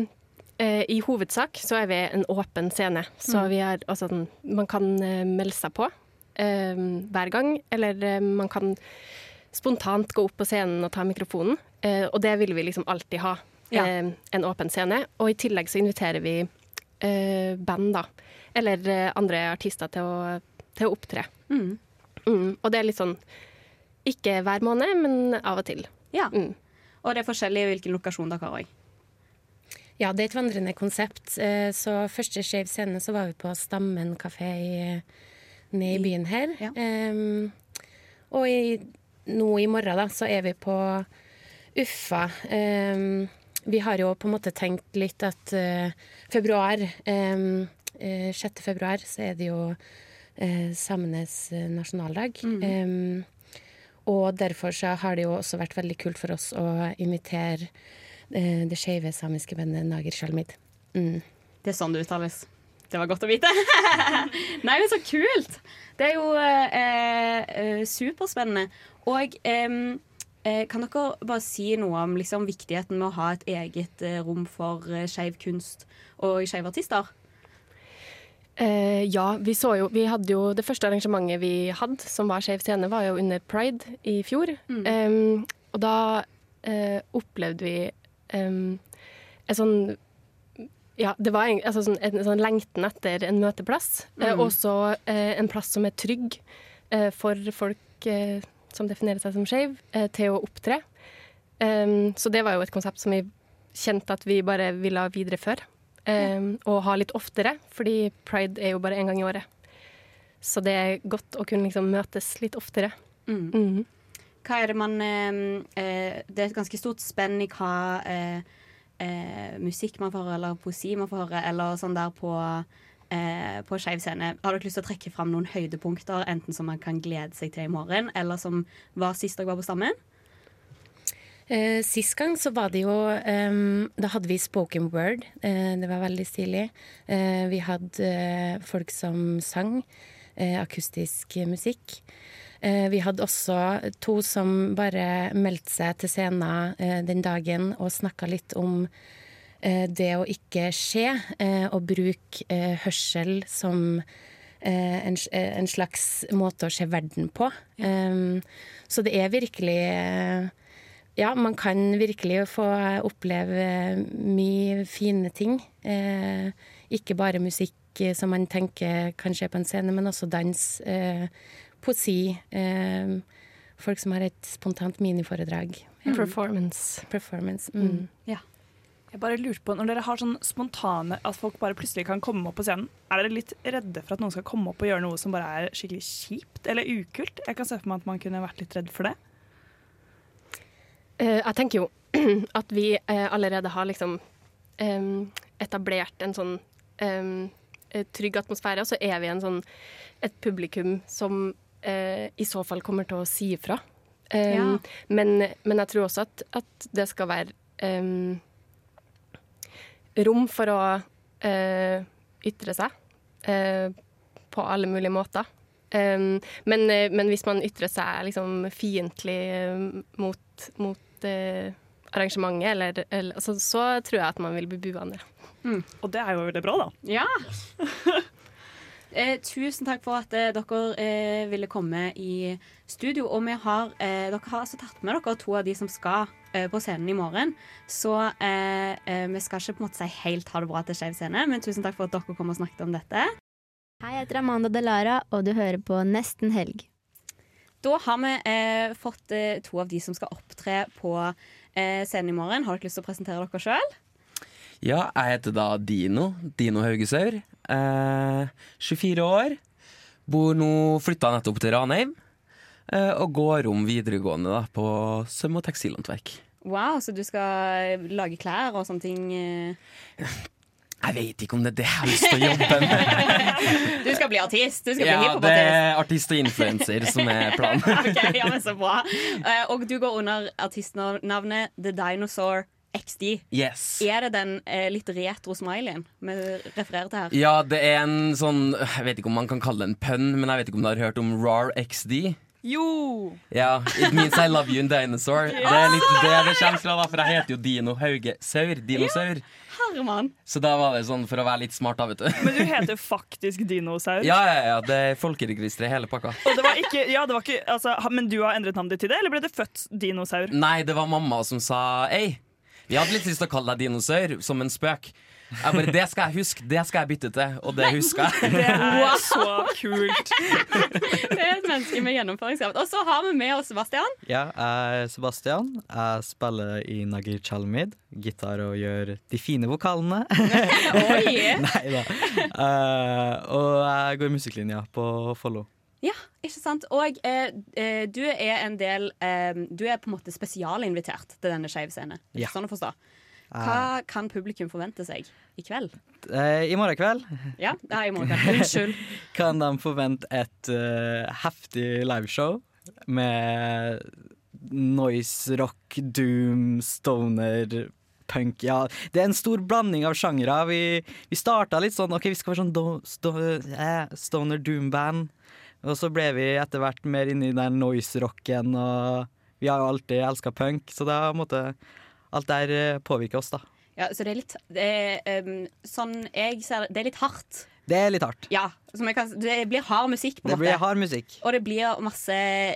Speaker 13: eh, I hovedsak så er vi en åpen scene. Så
Speaker 8: Mm.
Speaker 13: vi har altså den- Man kan eh, melde seg på eh, hver gang, eller eh, man kan spontant gå opp på scenen og ta mikrofonen. Eh, og det vil vi liksom alltid ha.
Speaker 8: Ja.
Speaker 13: Eh, en åpen scene. Og i tillegg så inviterer vi eh, band, da. Eller eh, andre artister til å, til å opptre.
Speaker 8: Mm.
Speaker 13: Mm, og det er litt sånn ikke hver måned, men av og til. Mm.
Speaker 8: Ja. Og det er forskjellig hvilken lokasjon dere har òg.
Speaker 13: Ja, det er et vandrende konsept. Eh, Så første Skeiv scene så var vi på Stammen kafé i- nede i byen her. Em, og i, nå i morgen da, så er vi på Uffa. Em, vi har jo på en måte tenkt litt at eh, februar, em, eh, 6. februar, så er det jo eh, samenes eh, nasjonaldag. Em, og derfor så har det jo også vært veldig kult for oss å invitere eh, det skeive samiske bandet Nager Sjalmid. Mm.
Speaker 8: Det er sånn det uttales. Det var godt å vite. Nei, men så kult! Det er jo eh, eh, superspennende. Og em, eh, kan dere bare si noe om liksom, viktigheten med å ha et eget eh, rom for eh, skeiv kunst og skeive artister?
Speaker 13: Eh, ja, vi så jo, vi hadde jo Det første arrangementet vi hadde, som var Skeiv scene, var jo under pride i fjor. Em, og da eh, opplevde vi em, en sånn ja, det var en, altså sånn, en sånn lengten etter en møteplass. Eh,
Speaker 14: Mm.
Speaker 13: også eh, en plass som er trygg eh, for folk eh, som definerer seg som skeiv, eh, til å opptre. Em, så det var jo et konsept som vi kjente at vi bare ville ehm, videreføre. Um, og ha litt oftere, fordi pride er jo bare én gang i året.
Speaker 14: Så det er godt å kunne liksom møtes litt oftere.
Speaker 8: Mm.
Speaker 13: Mhm.
Speaker 8: Hva er det man eh, eh, Det er et ganske stort spenn i hva eh, eh, musikk man får høre, eller poesi man får høre, eller sånn der på eh, på skeiv scene. Har dere lyst til å trekke fram noen høydepunkter, enten som man kan glede seg til i morgen, eller som var sist dere var på Stammen?
Speaker 13: Eh, sist gang så var det jo ehm, Da hadde vi spoken word. Eh, det var veldig stilig. Eh, vi hadde eh, folk som sang eh, akustisk musikk. Eh, vi hadde også to som bare meldte seg til scenen eh, den dagen og snakka litt om eh, det å ikke se, eh, og bruke eh, hørsel som eh, en, s- eh, en slags måte å se verden på. Ehm, så det er virkelig eh, ja, man kan virkelig få oppleve eh, mye fine ting. Eh, ikke bare musikk eh, som man tenker kanskje er på en scene, men også dans, eh, poesi. Eh, folk som har et spontant miniforedrag.
Speaker 14: Mm. Performance.
Speaker 13: Performance, mm.
Speaker 9: Jeg bare lurer på, Når dere har sånn spontane at folk bare plutselig kan komme opp på scenen, er dere litt redde for at noen skal komme opp og gjøre noe som bare er skikkelig kjipt eller ukult? Jeg kan se for meg at man kunne vært litt redd for det.
Speaker 14: Eh, jeg tenker jo at vi eh, allerede har liksom em, etablert en sånn em, eh, trygg atmosfære, og så er vi en sånn, et publikum som eh, i så fall kommer til å si ifra. Em,
Speaker 15: Ja.
Speaker 14: men, men jeg tror også at, at det skal være em, rom for å eh, ytre seg eh, på alle mulige måter. Em, men, eh, men hvis man ytrer seg liksom fiendtlig eh, mot, mot eh, arrangementet, eller, eller, altså, så tror jeg at man vil bli bua ned.
Speaker 9: Og det er jo veldig bra, da.
Speaker 8: Ja. Eh, tusen takk for at eh, dere eh, ville komme i studio. Og vi har, eh, dere har altså tatt med dere to av de som skal eh, på scenen i morgen. Så eh, eh, vi skal ikke på en måte si helt ha det bra til Skeiv scene, men tusen takk for at dere kom og snakket om dette.
Speaker 16: Hei, jeg heter Amanda Delara, og du hører på Nesten helg.
Speaker 8: Da har vi eh, fått eh, to av de som skal opptre på eh, scenen i morgen. Har dere lyst til å presentere dere sjøl?
Speaker 17: Ja, jeg heter da Dino. Dino Haugesaur. Eh, 24 år. Bor nå Flytta nettopp til Ranheim. Eh, og går om videregående da, på søm- og tekstilhåndverk.
Speaker 8: Wow, så du skal eh, lage klær og sånne ting? eh.
Speaker 17: Jeg vet ikke om det er det jeg har lyst til å jobbe med.
Speaker 8: Du skal bli artist? Du skal bli
Speaker 17: Ja, det
Speaker 8: hiphopartist?
Speaker 17: er artist og influenser som er planen.
Speaker 8: ok, ja, men så bra. Eh, og du går under artistnavnet The Dinosaur XD.
Speaker 17: Yes.
Speaker 8: Er det den eh, litt retro smileyen vi refererer til her?
Speaker 17: Ja, det er en sånn Jeg vet ikke om man kan kalle det en pønn, men jeg vet ikke om du har hørt om RAR XD?
Speaker 9: Jo!
Speaker 17: Ja, It means I love you and dinosaur. Det er litt det det kommer fra, da, for jeg heter jo Dino Haugesaur. Dinosaur.
Speaker 8: Herman.
Speaker 17: Så da var det sånn for å være litt smart, da, vet du.
Speaker 9: Men du heter faktisk Dinosaur.
Speaker 17: Ja, ja, ja, det er folkeregisteret, hele pakka.
Speaker 9: Og det var ikke, ja, det var ikke altså, ha- Men du har endret navnet ditt til det, eller ble det født dinosaur?
Speaker 17: Nei, det var mamma som sa Ei, vi hadde litt lyst til å kalle deg dinosaur, som en spøk. Jeg bare, Det skal jeg huske, det skal jeg bytte til, og det huska jeg.
Speaker 9: Det er så kult.
Speaker 8: Det er et menneske med gjennomføringskraft. Og så har vi med oss Sebastian.
Speaker 18: Ja, jeg er Sebastian. Jeg spiller i Nagir Chalmid. Gitar og gjør de fine vokalene. Nei da. Eh, og jeg går musikklinja på Follo.
Speaker 8: Ja, ikke sant? Og eh, eh, du er en del eh, Du er på en måte spesialinvitert til denne Skeiv scene. Er det
Speaker 18: Ja.
Speaker 8: Sånn å forstå.
Speaker 17: Ah.
Speaker 8: Hva kan publikum forvente seg i kveld?
Speaker 18: Eh, I morgen kveld
Speaker 8: Ja, det er i morgen. Unnskyld.
Speaker 18: kan de forvente et eh, heftig liveshow med noise rock, doom, stoner, punk Ja, det er en stor blanding av sjangere. Vi, vi starta litt sånn OK, vi skal være sånn do, sto, eh, stoner doom-band. Og så ble vi etter hvert mer inni den noise-rocken, og vi har jo alltid elska punk, så det har måtte Alt der eh, påvirker oss, da.
Speaker 8: Ja, så det er litt det er, ehm, Sånn jeg ser det, det er litt hardt.
Speaker 18: Det er litt hardt.
Speaker 8: Ja, som jeg kan, Det blir hard musikk, på en
Speaker 18: Det blir
Speaker 8: måte.
Speaker 18: hard musikk.
Speaker 8: Og det blir masse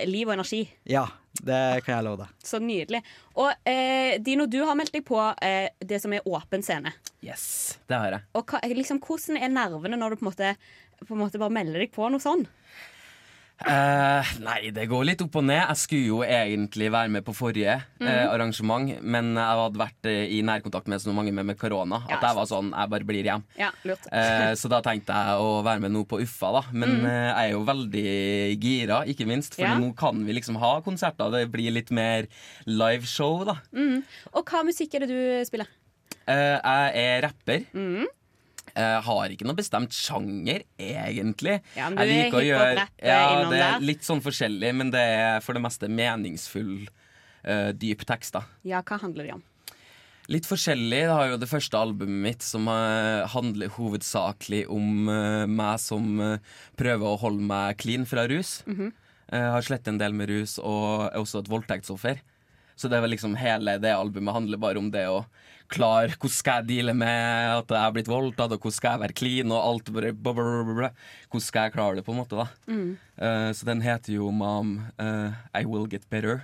Speaker 8: liv og energi.
Speaker 18: Ja, det kan jeg love deg.
Speaker 8: Så nydelig. Og eh, Dino, du har meldt deg på eh, det som er åpen scene.
Speaker 17: Yes, det har jeg.
Speaker 8: Og hva, liksom, Hvordan er nervene når du på en måte, på en måte bare melder deg på noe sånn?
Speaker 17: Eh, nei, det går litt opp og ned. Jeg skulle jo egentlig være med på forrige
Speaker 8: Mhm.
Speaker 17: eh, arrangement, men jeg hadde vært eh, i nærkontakt med så mange med, med korona
Speaker 8: Ja,
Speaker 17: at jeg var sånn Jeg bare blir hjemme.
Speaker 8: Ja, lurt.
Speaker 17: Eh, så da tenkte jeg å være med nå på Uffa, da. Men
Speaker 8: Mm.
Speaker 17: eh, jeg er jo veldig gira, ikke minst. For
Speaker 8: Ja.
Speaker 17: nå kan vi liksom ha konserter. Det blir litt mer liveshow, da.
Speaker 8: Mm. Og hva musikk er det du spiller?
Speaker 17: Eh, jeg er rapper.
Speaker 8: Mm.
Speaker 17: Jeg har ikke noe bestemt sjanger, egentlig.
Speaker 8: Ja, men du er hiphop-rapp, eh,
Speaker 17: ja,
Speaker 8: innom
Speaker 17: det er
Speaker 8: der.
Speaker 17: litt sånn forskjellig, men det er for det meste meningsfull, eh, dyp tekst. da.
Speaker 8: Ja, hva handler det om?
Speaker 17: Litt forskjellig. Det har jo det første albumet mitt som eh, handler hovedsakelig om eh, meg som eh, prøver å holde meg clean fra rus.
Speaker 8: Mhm.
Speaker 17: Eh, har slettet en del med rus og er også et voldtektsoffer. Så det er vel liksom hele det albumet handler bare om det å klare hvordan skal jeg deale med at jeg har blitt voldtatt, og hvordan skal jeg være clean, og alt bare bla, bla, bla, bla. Hvordan skal jeg klare det, på en måte, da.
Speaker 15: Mm.
Speaker 17: Eh, så den heter jo Mom, eh, I Will Get Better.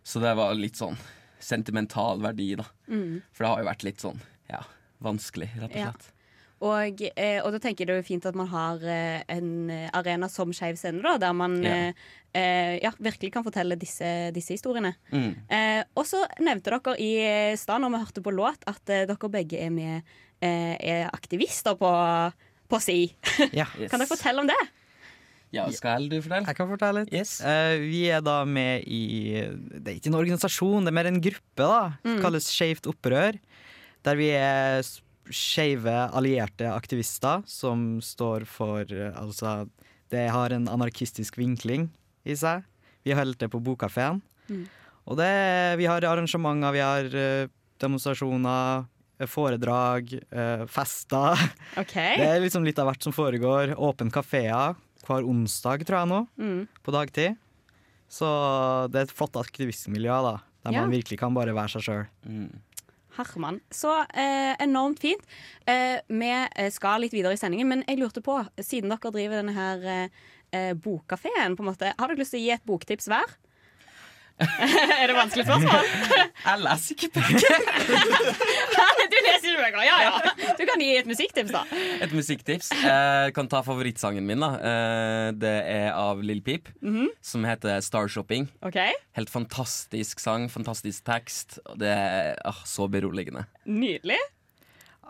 Speaker 17: Så det var litt sånn sentimental verdi, da.
Speaker 8: Mm.
Speaker 17: For det har jo vært litt sånn, ja, vanskelig, rett og
Speaker 8: Ja.
Speaker 17: slett.
Speaker 8: Og, eh, og da tenker jeg det er jo fint at man har eh, en eh, arena som Skeiv scene, da, der man
Speaker 17: Ja.
Speaker 8: eh, eh, ja, virkelig kan fortelle disse, disse historiene.
Speaker 17: Mm.
Speaker 8: Eh, og så nevnte dere i eh, stad når vi hørte på låt, at eh, dere begge er med eh, er aktivister på, på si.
Speaker 17: Yes.
Speaker 8: Kan dere fortelle om det?
Speaker 17: Ja, skal du fortelle?
Speaker 18: Jeg kan fortelle litt. Eh, vi er da med i Det er ikke en organisasjon, det er mer en gruppe. da
Speaker 8: Mm.
Speaker 18: Kalles Skeivt opprør. Der vi er s- skeive allierte aktivister som står for eh, Altså, det har en anarkistisk vinkling i seg. Vi holder til på Bokkafeen.
Speaker 15: Mm.
Speaker 18: Og det, vi har arrangementer, vi har eh, demonstrasjoner, eh, foredrag, eh, fester.
Speaker 8: Ok.
Speaker 18: Det er liksom litt av hvert som foregår. Åpen kafeer hver onsdag, tror jeg nå,
Speaker 8: Mm.
Speaker 18: på dagtid. Så det er et flott aktivistmiljø, da. Der
Speaker 8: Ja.
Speaker 18: man virkelig kan bare være seg sjøl.
Speaker 8: Herman. Så eh, enormt fint. Eh, vi eh, skal litt videre i sendingen, men jeg lurte på, siden dere driver denne her eh, eh, bokkafeen, på en måte, har dere lyst til å gi et boktips hver? er det vanskelig spørsmål?
Speaker 17: Jeg leser ikke
Speaker 8: du leser ikke bøker, ja ja. Du kan gi et musikktips, da.
Speaker 17: Et musikktips. Eh, Jeg kan ta favorittsangen min, da. Eh, det er av Lill Peep,
Speaker 8: Mhm.
Speaker 17: som heter Starshopping.
Speaker 8: OK?
Speaker 17: Helt fantastisk sang, fantastisk tekst. og Det er ah, så beroligende.
Speaker 8: Nydelig.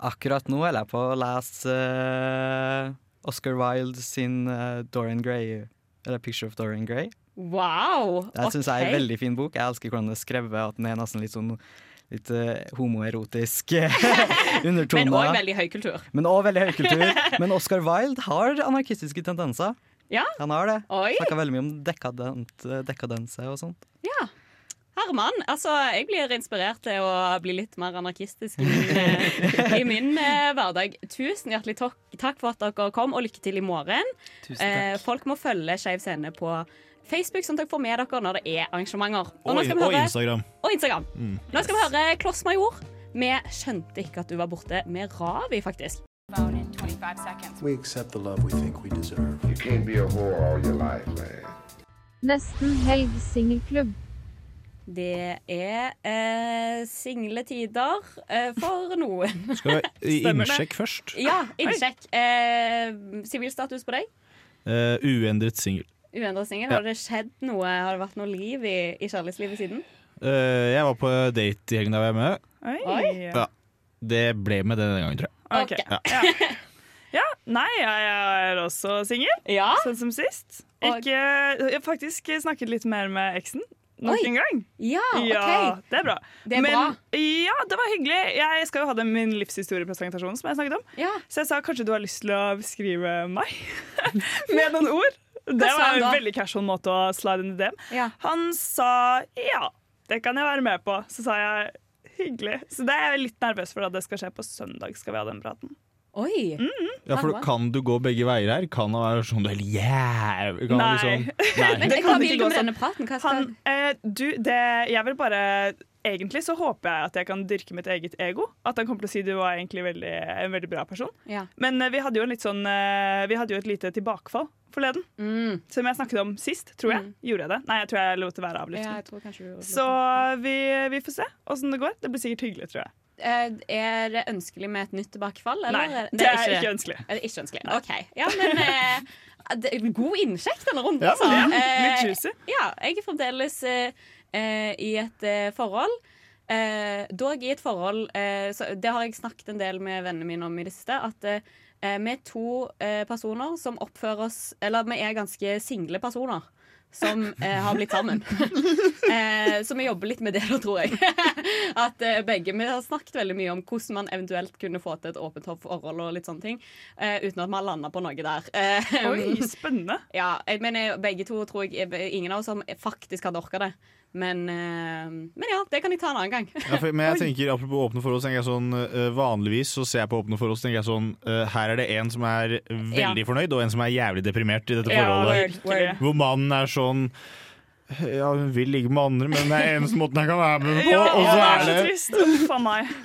Speaker 18: Akkurat nå holder jeg på å lese eh, Oscar Wilde sin eh, Dorian Gray, eller Picture of Dorian Gray.
Speaker 8: Wow.
Speaker 18: Det syns jeg
Speaker 8: ok.
Speaker 18: er en veldig fin bok. Jeg elsker hvordan det er skrevet, at den er nesten litt sånn litt eh, homoerotisk undertone.
Speaker 8: Men òg veldig høykultur.
Speaker 18: Men òg veldig høykultur. Men Oscar Wilde har anarkistiske tendenser.
Speaker 8: Ja.
Speaker 18: Han har det.
Speaker 8: Oi.
Speaker 18: Snakker veldig mye om dekadent, dekadense og sånt.
Speaker 8: Ja. Herman, altså jeg blir inspirert til å bli litt mer anarkistisk i min, eh, i min eh, hverdag. Tusen hjertelig takk, takk for at dere kom, og lykke til i morgen.
Speaker 19: Tusen takk.
Speaker 8: Eh, folk må følge Skeiv scene på Facebook, sånn at dere får med dere når det er arrangementer.
Speaker 10: Og,
Speaker 8: nå skal vi
Speaker 10: og
Speaker 8: høre-
Speaker 10: Instagram.
Speaker 8: Og Instagram.
Speaker 10: Mm.
Speaker 8: Nå skal vi høre Kloss Major. Vi skjønte ikke at du var borte med Ravi, faktisk.
Speaker 20: We accept the love we think we deserve. You can't be a whore all your life, man.
Speaker 21: Nesten helg singelklubb.
Speaker 8: Det er eh, single tider eh, for noen.
Speaker 10: Skal vi i
Speaker 8: Stemmer det?
Speaker 10: innsjekk først?
Speaker 8: Ja, innsjekk. Eh, Sivilstatus på deg?
Speaker 10: Eh, uendret singel.
Speaker 8: Uendret singel.
Speaker 10: Ja.
Speaker 8: Har det skjedd noe? Har det vært noe liv i, i kjærlighetslivet siden?
Speaker 10: Eh, jeg var på date i helgen da jeg var med.
Speaker 8: Oi.
Speaker 10: Ja. Det ble med det denne gangen, tror jeg.
Speaker 8: Ah,
Speaker 9: Ok.
Speaker 10: Ja.
Speaker 9: Ja, nei, jeg er også singel, sånn som sist. Ikke, jeg har faktisk snakket litt mer med eksen. Nok
Speaker 8: Oi.
Speaker 9: en gang.
Speaker 8: Ja,
Speaker 9: Ja,
Speaker 8: ok.
Speaker 9: det er bra.
Speaker 8: Det er
Speaker 9: Men,
Speaker 8: bra.
Speaker 9: Ja, det var hyggelig. Jeg skal jo ha den min livshistoriepresentasjon som jeg snakket om. Så jeg sa kanskje du har lyst til å beskrive meg med noen ord.
Speaker 8: sa
Speaker 9: Det var
Speaker 8: han
Speaker 9: en
Speaker 8: da?
Speaker 9: veldig casual måte å slide inn i DM. Han sa ja, det kan jeg være med på. Så sa jeg hyggelig. Så det er jeg litt nervøs for at det skal skje på søndag, skal vi ha den praten.
Speaker 8: Oi!
Speaker 9: Mm.
Speaker 10: Ja, for
Speaker 8: Herman.
Speaker 10: kan du gå begge veier her? Kan han være sånn du er helt jævlig kan han
Speaker 9: Nei.
Speaker 10: Liksom,
Speaker 8: Men
Speaker 10: nei.
Speaker 9: Det
Speaker 8: hva
Speaker 9: kan
Speaker 8: vil
Speaker 9: ikke
Speaker 8: du
Speaker 9: gå
Speaker 8: med
Speaker 9: sånn.
Speaker 8: denne praten? Hva skal...
Speaker 9: Han, eh, du, det, jeg vil bare Egentlig så håper jeg at jeg kan dyrke mitt eget ego. At han kommer til å si du var egentlig veldig, en veldig bra person.
Speaker 8: Ja.
Speaker 9: Men eh, vi hadde jo, en litt sånn, eh, vi hadde jo et lite tilbakefall forleden. Som jeg snakket om sist, tror jeg. Gjorde jeg det? Nei, jeg tror Mm. jeg lot det være av luften.
Speaker 8: Ja, jeg tror kanskje du
Speaker 9: så vi, vi får se åssen det går. Det blir sikkert hyggelig, tror jeg.
Speaker 8: Eh, Er det ønskelig med et nytt tilbakefall? eller?
Speaker 9: Nei, det er ikke ønskelig.
Speaker 8: Er det ikke ønskelig? OK. Ja, men eh, det er en god innsjekk denne runden,
Speaker 9: Ja,
Speaker 8: altså.
Speaker 9: litt-
Speaker 8: Eh,
Speaker 9: litt juicy.
Speaker 8: Ja, jeg er fremdeles eh, eh, i et eh, forhold. Eh, dog i et forhold eh, så Det har jeg snakket en del med vennene mine om i det siste. At eh, eh, vi er to eh, personer som oppfører oss Eller vi er ganske single personer. Som eh, har blitt sammen. eh, så vi jobber litt med det, da, tror jeg. At eh, begge Vi har snakket veldig mye om hvordan man eventuelt kunne få til et åpent forhold og litt sånne ting. Eh, uten at vi har landa på noe der. Eh,
Speaker 9: Oi, spennende.
Speaker 8: ja, jeg mener begge to tror jeg eh, Ingen av oss som faktisk hadde orka det. Men, eh, men ja, det kan jeg ta en annen gang.
Speaker 10: Ja, for, men jeg tenker, apropos åpne forhold, så tenker jeg sånn eh, Vanligvis så ser jeg på åpne forhold så tenker jeg sånn eh, Her er det en som er veldig
Speaker 8: Ja.
Speaker 10: fornøyd, og en som er jævlig deprimert i dette
Speaker 8: Ja, word,
Speaker 10: forholdet.
Speaker 8: word.
Speaker 10: Hvor mannen er sånn Ja, hun vil ligge med andre, men det er eneste måten jeg kan være med på. og så er det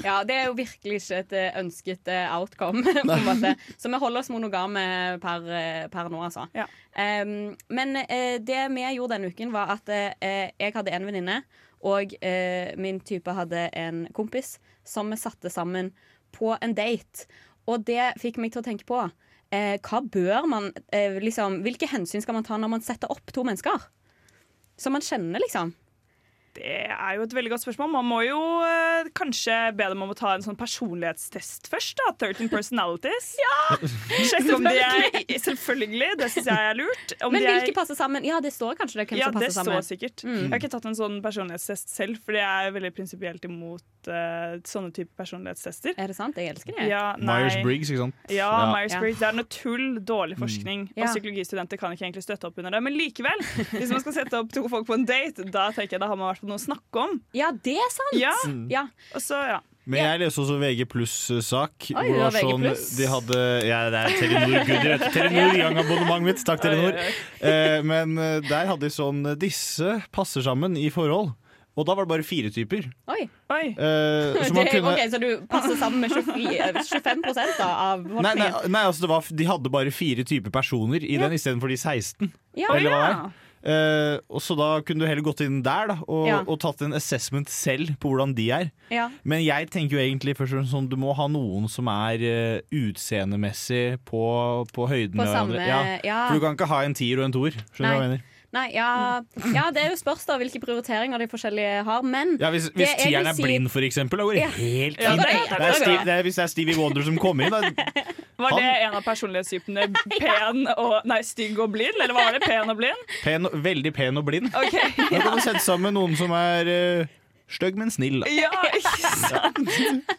Speaker 8: Ja, det er jo virkelig ikke et eh, ønsket eh, outcome. på en måte. Så vi holder oss monogame per, eh, per nå, altså. Em, men eh, det vi gjorde denne uken, var at eh, jeg hadde en venninne, og eh, min type hadde en kompis, som vi satte sammen på en date. Og det fikk meg til å tenke på eh, hva bør man, eh, liksom, hvilke hensyn skal man ta når man setter opp to mennesker som man kjenner, liksom.
Speaker 9: Det er jo et veldig godt spørsmål. Man må jo eh, kanskje be dem om å ta en sånn personlighetstest først. da 13 personalities. Sjekk om de er Selvfølgelig, det syns jeg er lurt. Om
Speaker 8: Men
Speaker 9: de er-
Speaker 8: hvilke passer sammen? Ja, det står kanskje det, hvem
Speaker 9: ja,
Speaker 8: som passer
Speaker 9: det
Speaker 8: sammen.
Speaker 9: står sikkert.
Speaker 8: Mm.
Speaker 9: Jeg har ikke tatt en sånn personlighetstest selv, fordi jeg er veldig prinsipielt imot eh, sånne type personlighetstester.
Speaker 8: Er det sant? Jeg elsker det.
Speaker 9: Ja, nei.
Speaker 10: Myers-Briggs, ikke sant?
Speaker 9: Ja,
Speaker 10: Ja. Mm.
Speaker 9: Myers-Briggs. Det er noe tull, dårlig forskning.
Speaker 8: Ja.
Speaker 9: Og psykologistudenter kan ikke egentlig støtte opp under det. Men likevel, hvis man skal sette opp to folk på en date, da tenker jeg da har man i hvert fall noe å snakke om.
Speaker 8: Ja, det er sant!
Speaker 9: Ja.
Speaker 10: Mm.
Speaker 9: Og så, ja.
Speaker 10: Men jeg leste også VG pluss-sak.
Speaker 9: Oi, det var VG+.
Speaker 10: sånn, de hadde Ja, det er Telenor. Gud, du vet, Telenor gang abonnementet mitt. Takk, Telenor. Eh, men eh, der hadde de sånn Disse passer sammen i forhold. Og da var det bare fire typer.
Speaker 8: Oi.
Speaker 10: Eh, så man
Speaker 8: det,
Speaker 10: kunne
Speaker 8: ok, så du passer sammen med 24, eh, 25 da, av
Speaker 10: Nei, nei,
Speaker 8: befolkningen?
Speaker 10: nei altså det var, de hadde bare fire typer personer i den istedenfor de 16.
Speaker 8: Ja.
Speaker 10: eller hva det
Speaker 8: Ja.
Speaker 10: er. Eh, og så da kunne du heller gått inn der da, og,
Speaker 8: Ja.
Speaker 10: og tatt en assessment selv på hvordan de er.
Speaker 8: Ja.
Speaker 10: Men jeg tenker jo egentlig først og fremst sånn, du må ha noen som er eh, utseendemessig på, på høyden
Speaker 8: På
Speaker 10: med hverandre.
Speaker 8: samme- ja.
Speaker 10: For du kan ikke ha en tier og en toer. Skjønner du hva jeg
Speaker 8: Nei.
Speaker 10: mener?
Speaker 8: Nei, ja, ja, det er jo spørs da hvilke prioriteringer de forskjellige har, men
Speaker 10: Ja, hvis
Speaker 8: det
Speaker 10: hvis
Speaker 8: jeg vil
Speaker 10: tieren er
Speaker 8: si-
Speaker 10: blind, for eksempel, da går det
Speaker 8: Ja.
Speaker 10: helt
Speaker 8: Ja,
Speaker 10: fint.
Speaker 8: det er-
Speaker 10: det,
Speaker 8: det er
Speaker 10: er Steve,
Speaker 8: bra.
Speaker 10: det er, hvis det er Stevie Wonder som kommer inn, da
Speaker 9: Var
Speaker 10: Han-
Speaker 9: det en av personlighetstypene pen og Nei, stygg og blind? Eller var det pen og blind?
Speaker 10: pen, og- veldig pen og blind.
Speaker 9: Ok,
Speaker 10: Da kan du sette sammen noen som er uh, stygg, men snill. da.
Speaker 9: Ja, ikke sant?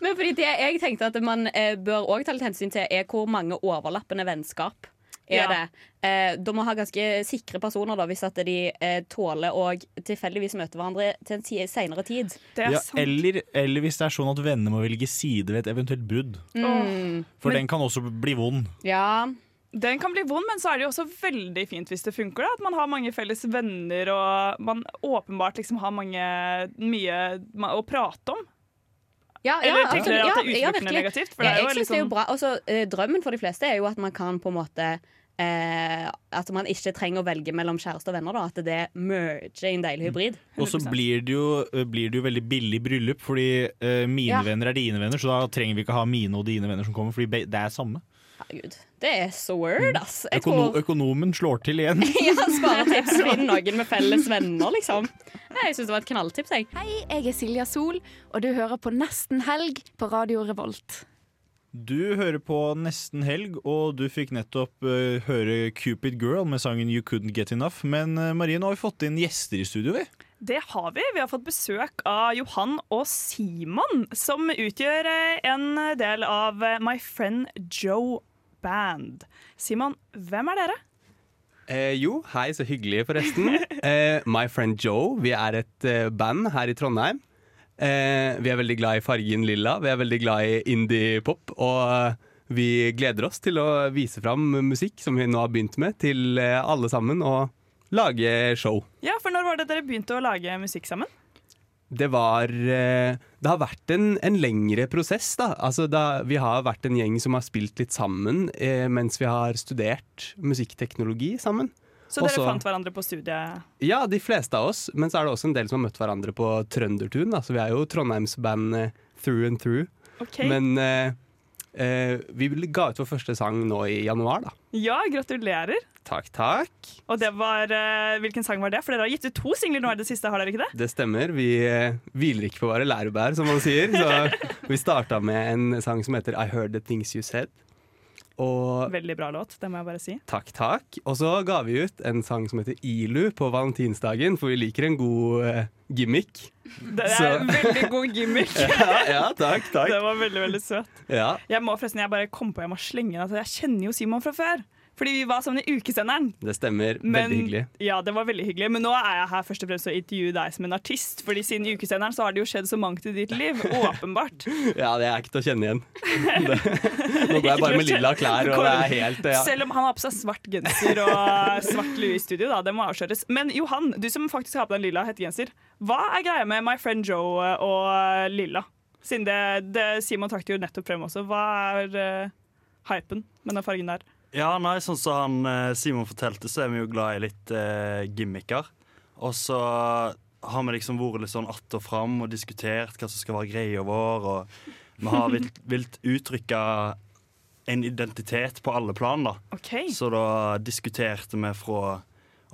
Speaker 8: Men fordi det jeg tenkte at man eh, bør også ta litt hensyn til, er hvor mange overlappende vennskap er
Speaker 9: Ja.
Speaker 8: det. Eh, da må ha ganske sikre personer, da, hvis at de eh, tåler å tilfeldigvis møte hverandre til en ti- senere tid.
Speaker 10: Ja, eller, eller hvis det er sånn at venner må velge side ved et eventuelt brudd.
Speaker 8: Mm.
Speaker 10: For
Speaker 9: Men-
Speaker 10: den kan også bli vond.
Speaker 8: Ja.
Speaker 9: Den kan bli vond, men så er det jo også veldig fint hvis det funker. Da. At man har mange felles venner, og man åpenbart liksom har mange, mye ma- å prate om.
Speaker 8: Ja,
Speaker 9: Eller
Speaker 8: ja,
Speaker 9: tenker dere
Speaker 8: absolutt.
Speaker 9: at
Speaker 8: Ja,
Speaker 9: det er
Speaker 8: ja,
Speaker 9: utelukkende
Speaker 8: virkelig.
Speaker 9: negativt? For
Speaker 8: ja,
Speaker 9: det er jo
Speaker 8: jeg synes
Speaker 9: liksom-
Speaker 8: det er jo bra. Også, eh, drømmen for de fleste er jo at man kan på en måte eh, At man ikke trenger å velge mellom kjæreste og venner. Da. At det merger i en deilig hybrid.
Speaker 10: Og så blir det jo, eh, blir det jo veldig billig bryllup, fordi eh, mine
Speaker 8: Ja.
Speaker 10: venner er dine venner, så da trenger vi ikke ha mine og dine venner som kommer, fordi be- det er samme.
Speaker 8: Herregud. Det er så word, ass. Jeg
Speaker 10: Mm. Økono
Speaker 8: tror
Speaker 10: Økonomen slår til igjen.
Speaker 8: ja, Sparetips, finn noen med felles venner, liksom. Nei, Jeg syns det var et knalltips, jeg.
Speaker 15: Hei, jeg er Silja Sol, og du hører på Nesten helg på Radio Revolt.
Speaker 10: Du hører på Nesten helg, og du fikk nettopp eh, høre Cupid Girl med sangen You Couldn't Get Enough. Men eh, Marie, nå har vi fått inn gjester i studio, vi.
Speaker 9: Det har vi. Vi har fått besøk av Johan og Simon, som utgjør eh, en del av eh, My Friend Joe Band. Simon, hvem er dere?
Speaker 19: Eh, jo, hei, så hyggelig forresten. Eh, My Friend Joe, vi er et eh, band her i Trondheim. Eh, vi er veldig glad i fargen lilla, vi er veldig glad i indie-pop, og eh, vi gleder oss til å vise fram musikk som vi nå har begynt med, til eh, alle sammen, og lage show.
Speaker 9: Ja, for når var det dere begynte å lage musikk sammen?
Speaker 19: Det var eh, Det har vært en, en lengre prosess, da. Altså, da. Vi har vært en gjeng som har spilt litt sammen eh, mens vi har studert musikkteknologi sammen.
Speaker 9: Så dere
Speaker 19: Også-
Speaker 9: fant hverandre på studiet?
Speaker 19: Ja, de fleste av oss, men så er det også en del som har møtt hverandre på Trøndertun. Da. Så vi er jo Trondheimsband eh, through and through.
Speaker 9: Ok.
Speaker 19: Men eh, eh, vi ga ut vår første sang nå i januar, da.
Speaker 9: Ja, gratulerer.
Speaker 19: Takk, takk.
Speaker 9: Og det var eh, Hvilken sang var det? For dere har gitt ut to singler nå i det siste, har dere ikke det?
Speaker 19: Det stemmer. Vi eh, hviler ikke på våre lærebær, som man sier. Så vi starta med en sang som heter I Heard The Things You Said. Og
Speaker 9: Veldig bra låt, det må jeg bare si.
Speaker 19: Takk, takk. Og så ga vi ut en sang som heter Ilu på valentinsdagen, for vi liker en god eh, gimmick.
Speaker 9: Det er en veldig god gimmick.
Speaker 19: ja, ja, takk, takk.
Speaker 9: Det var veldig, veldig søt.
Speaker 19: Ja.
Speaker 9: Jeg må forresten, jeg bare kom på jeg må slenge den at jeg kjenner jo Simon fra før. Fordi vi var sammen i Ukesenderen.
Speaker 19: Det stemmer.
Speaker 9: Men-
Speaker 19: Veldig hyggelig.
Speaker 9: Ja, det var veldig hyggelig. Men nå er jeg her først og fremst å intervjue deg som en artist. Fordi siden Ukesenderen så har det jo skjedd så mangt i ditt liv. Åpenbart.
Speaker 19: Ja, det er ikke til å kjenne igjen. Det, nå går jeg bare med lilla klær, og det er helt ja.
Speaker 9: Selv om han har på seg svart genser og svart lue i studio, da. Det må avsløres. Men Johan, du som faktisk har på deg lilla hettegenser. Hva er greia med My Friend Joe og lilla? Siden det, det Simon trakk det jo nettopp frem også. Hva er eh, hypen med den fargen der?
Speaker 1: Ja, nei, sånn som han eh, Simon fortalte, så er vi jo glad i litt eh, gimmicker. Og så har vi liksom vært litt sånn att og fram og diskutert hva som skal være greia vår. Og vi har vilt, vilt uttrykka en identitet på alle plan, da.
Speaker 9: Ok.
Speaker 1: Så da diskuterte vi fra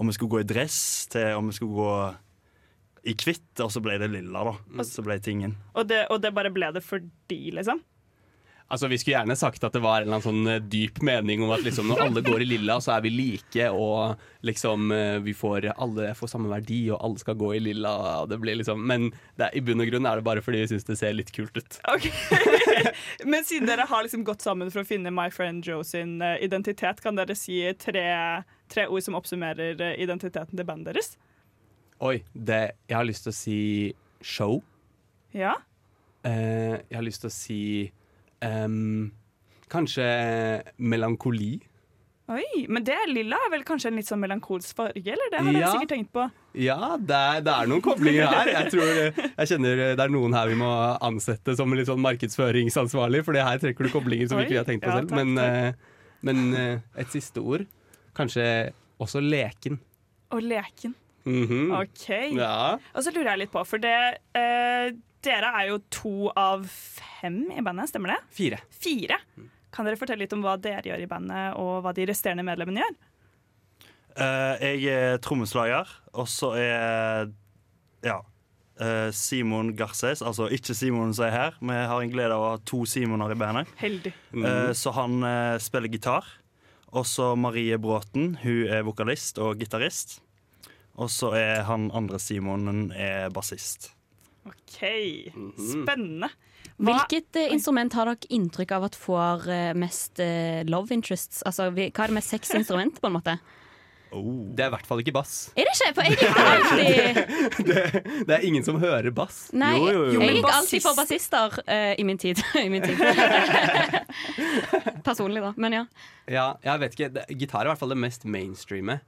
Speaker 1: om vi skulle gå i dress, til om vi skulle gå i hvitt, og så ble det lilla, da. Så ble tingen.
Speaker 9: Og det, og det bare ble det fordi, liksom?
Speaker 19: Altså, Vi skulle gjerne sagt at det var en eller annen sånn eh, dyp mening om at liksom, når alle går i lilla, så er vi like, og liksom eh, vi får alle får samme verdi, og alle skal gå i lilla. Og det blir liksom, men det er, i bunn og grunn er det bare fordi vi syns det ser litt kult ut.
Speaker 9: Men siden dere har liksom gått sammen for å finne My Friend Joe sin eh, identitet, kan dere si tre, tre ord som oppsummerer eh, identiteten til bandet deres?
Speaker 19: Oi, det, jeg har lyst til å si show.
Speaker 9: Ja?
Speaker 19: Eh, jeg har lyst til å si ehm, kanskje melankoli.
Speaker 9: Oi, men det lilla er vel kanskje en litt sånn melankolsk farge, eller? Det har dere
Speaker 19: Ja.
Speaker 9: sikkert tenkt på.
Speaker 19: Ja, det er, det er noen koblinger her. Jeg tror jeg kjenner det er noen her vi må ansette som litt sånn markedsføringsansvarlig, for det her trekker du koblinger som ikke vi har tenkt
Speaker 9: Oi,
Speaker 19: på
Speaker 9: ja,
Speaker 19: selv.
Speaker 9: takk,
Speaker 19: Men,
Speaker 9: takk.
Speaker 19: eh, men eh, et siste ord. Kanskje også leken.
Speaker 9: Og leken.
Speaker 10: Mm.
Speaker 19: Mhm.
Speaker 9: OK.
Speaker 19: Ja.
Speaker 9: Og så lurer jeg litt på, for det eh, Dere er jo to av fem i bandet, stemmer det?
Speaker 19: Fire.
Speaker 9: Fire. Kan dere fortelle litt om hva dere gjør i bandet, og hva de resterende medlemmene gjør?
Speaker 1: Eh, jeg er trommeslager, og så er ja, eh, Simon Garces, altså ikke Simon som er her. Vi har en glede av å ha to Simoner i bandet.
Speaker 9: Heldig.
Speaker 10: Mm.
Speaker 1: Eh, så han eh, spiller gitar. Og så Marie Bråten, hun er vokalist og gitarist. Og så er han andre Simonen er bassist.
Speaker 9: OK. Spennende.
Speaker 8: Hvilket eh, instrument har dere inntrykk av at får eh, mest eh, love interests? Altså, vi, hva er det med seks instrument, på en måte?
Speaker 19: Det er i hvert fall ikke bass.
Speaker 8: Er det ikke? For jeg er alltid
Speaker 19: Det er ingen som hører bass.
Speaker 8: Nei, jeg gikk alltid for
Speaker 19: bassist.
Speaker 8: bassister eh, i min tid. I min tid. Personlig, da. Men ja.
Speaker 19: Ja, jeg vet ikke. Det, gitar er i hvert fall det mest mainstreame.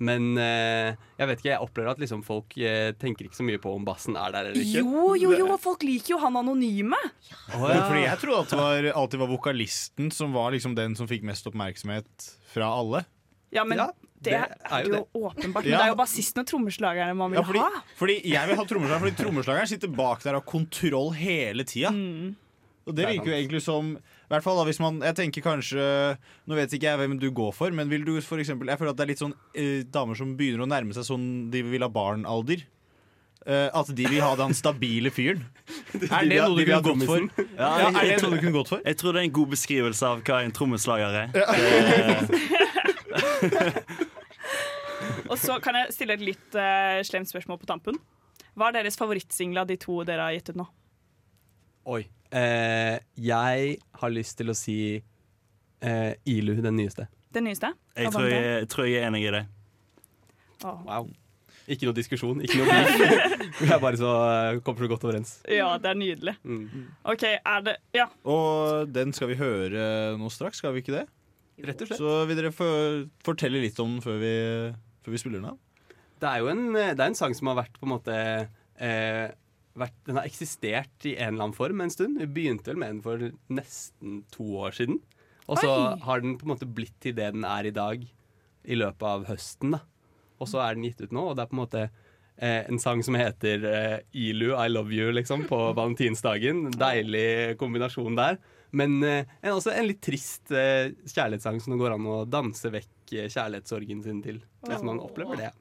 Speaker 19: Men eh, jeg vet ikke, jeg opplever at liksom folk eh, tenker ikke så mye på om bassen er der eller ikke.
Speaker 9: Jo, jo, jo, folk liker jo han anonyme.
Speaker 19: Å, ja.
Speaker 10: Fordi jeg trodde at det var, alltid var vokalisten som var liksom den som fikk mest oppmerksomhet fra alle.
Speaker 9: Ja, men
Speaker 10: Ja,
Speaker 9: det,
Speaker 10: det
Speaker 9: er
Speaker 10: er jo
Speaker 9: jo
Speaker 10: det.
Speaker 9: åpenbart. Men
Speaker 10: Ja.
Speaker 9: det er jo bassisten og trommeslagerne man vil
Speaker 10: Ja, fordi,
Speaker 9: ha.
Speaker 10: fordi jeg vil ha trommeslageren, fordi trommeslageren sitter bak der og har kontroll hele tida. Og
Speaker 19: Det
Speaker 10: det
Speaker 19: er
Speaker 10: virker jo
Speaker 19: sant.
Speaker 10: egentlig som i hvert fall da, hvis man, Jeg tenker kanskje Nå vet ikke jeg hvem du går for, men vil du for eksempel Jeg føler at det er litt sånn eh, damer som begynner å nærme seg sånn de vil ha barn-alder. Eh, at de vil ha den stabile fyren. Er det noe du kunne gått for? Ja, er det noe du kunne gått for?
Speaker 1: Jeg tror det er en god beskrivelse av hva en trommeslager er. Eh,
Speaker 9: Og så kan jeg stille et litt eh, slemt spørsmål på tampen. Hva er deres favorittsingel av de to dere har gitt ut nå?
Speaker 19: Oi. Eh, jeg har lyst til å si eh, Ilu, den nyeste.
Speaker 9: Den nyeste?
Speaker 1: Jeg
Speaker 9: Av
Speaker 1: tror
Speaker 19: E.
Speaker 9: bandet?
Speaker 1: jeg, jeg tror jeg er enig i det.
Speaker 9: Åh.
Speaker 19: Wow. Ikke noe diskusjon, ikke noe beef. Vi er bare så eh, kommer så godt overens.
Speaker 9: Ja, det er nydelig.
Speaker 10: Mm.
Speaker 9: OK, er det Ja.
Speaker 10: Og den skal vi høre nå straks, skal vi ikke det?
Speaker 19: Rett og slett.
Speaker 10: Så vil dere få fortelle litt om den før vi, før vi spiller den av?
Speaker 19: Det er jo en, eh, det er en sang som har vært på en måte eh, vært, Den har eksistert i en eller annen form en stund. Vi begynte vel med den for nesten to år siden. Og så
Speaker 10: Oi.
Speaker 19: har den på en måte blitt til det den er i dag. i løpet av høsten. da Og så er den gitt ut nå, og det er på en måte eh, en sang som heter eh, Ilu, I love you, liksom, på valentinsdagen. En Deilig kombinasjon der. Men eh, en, også en litt trist eh, kjærlighetssang som det går an å danse vekk eh, kjærlighetssorgen sin til. Hvis man opplever det.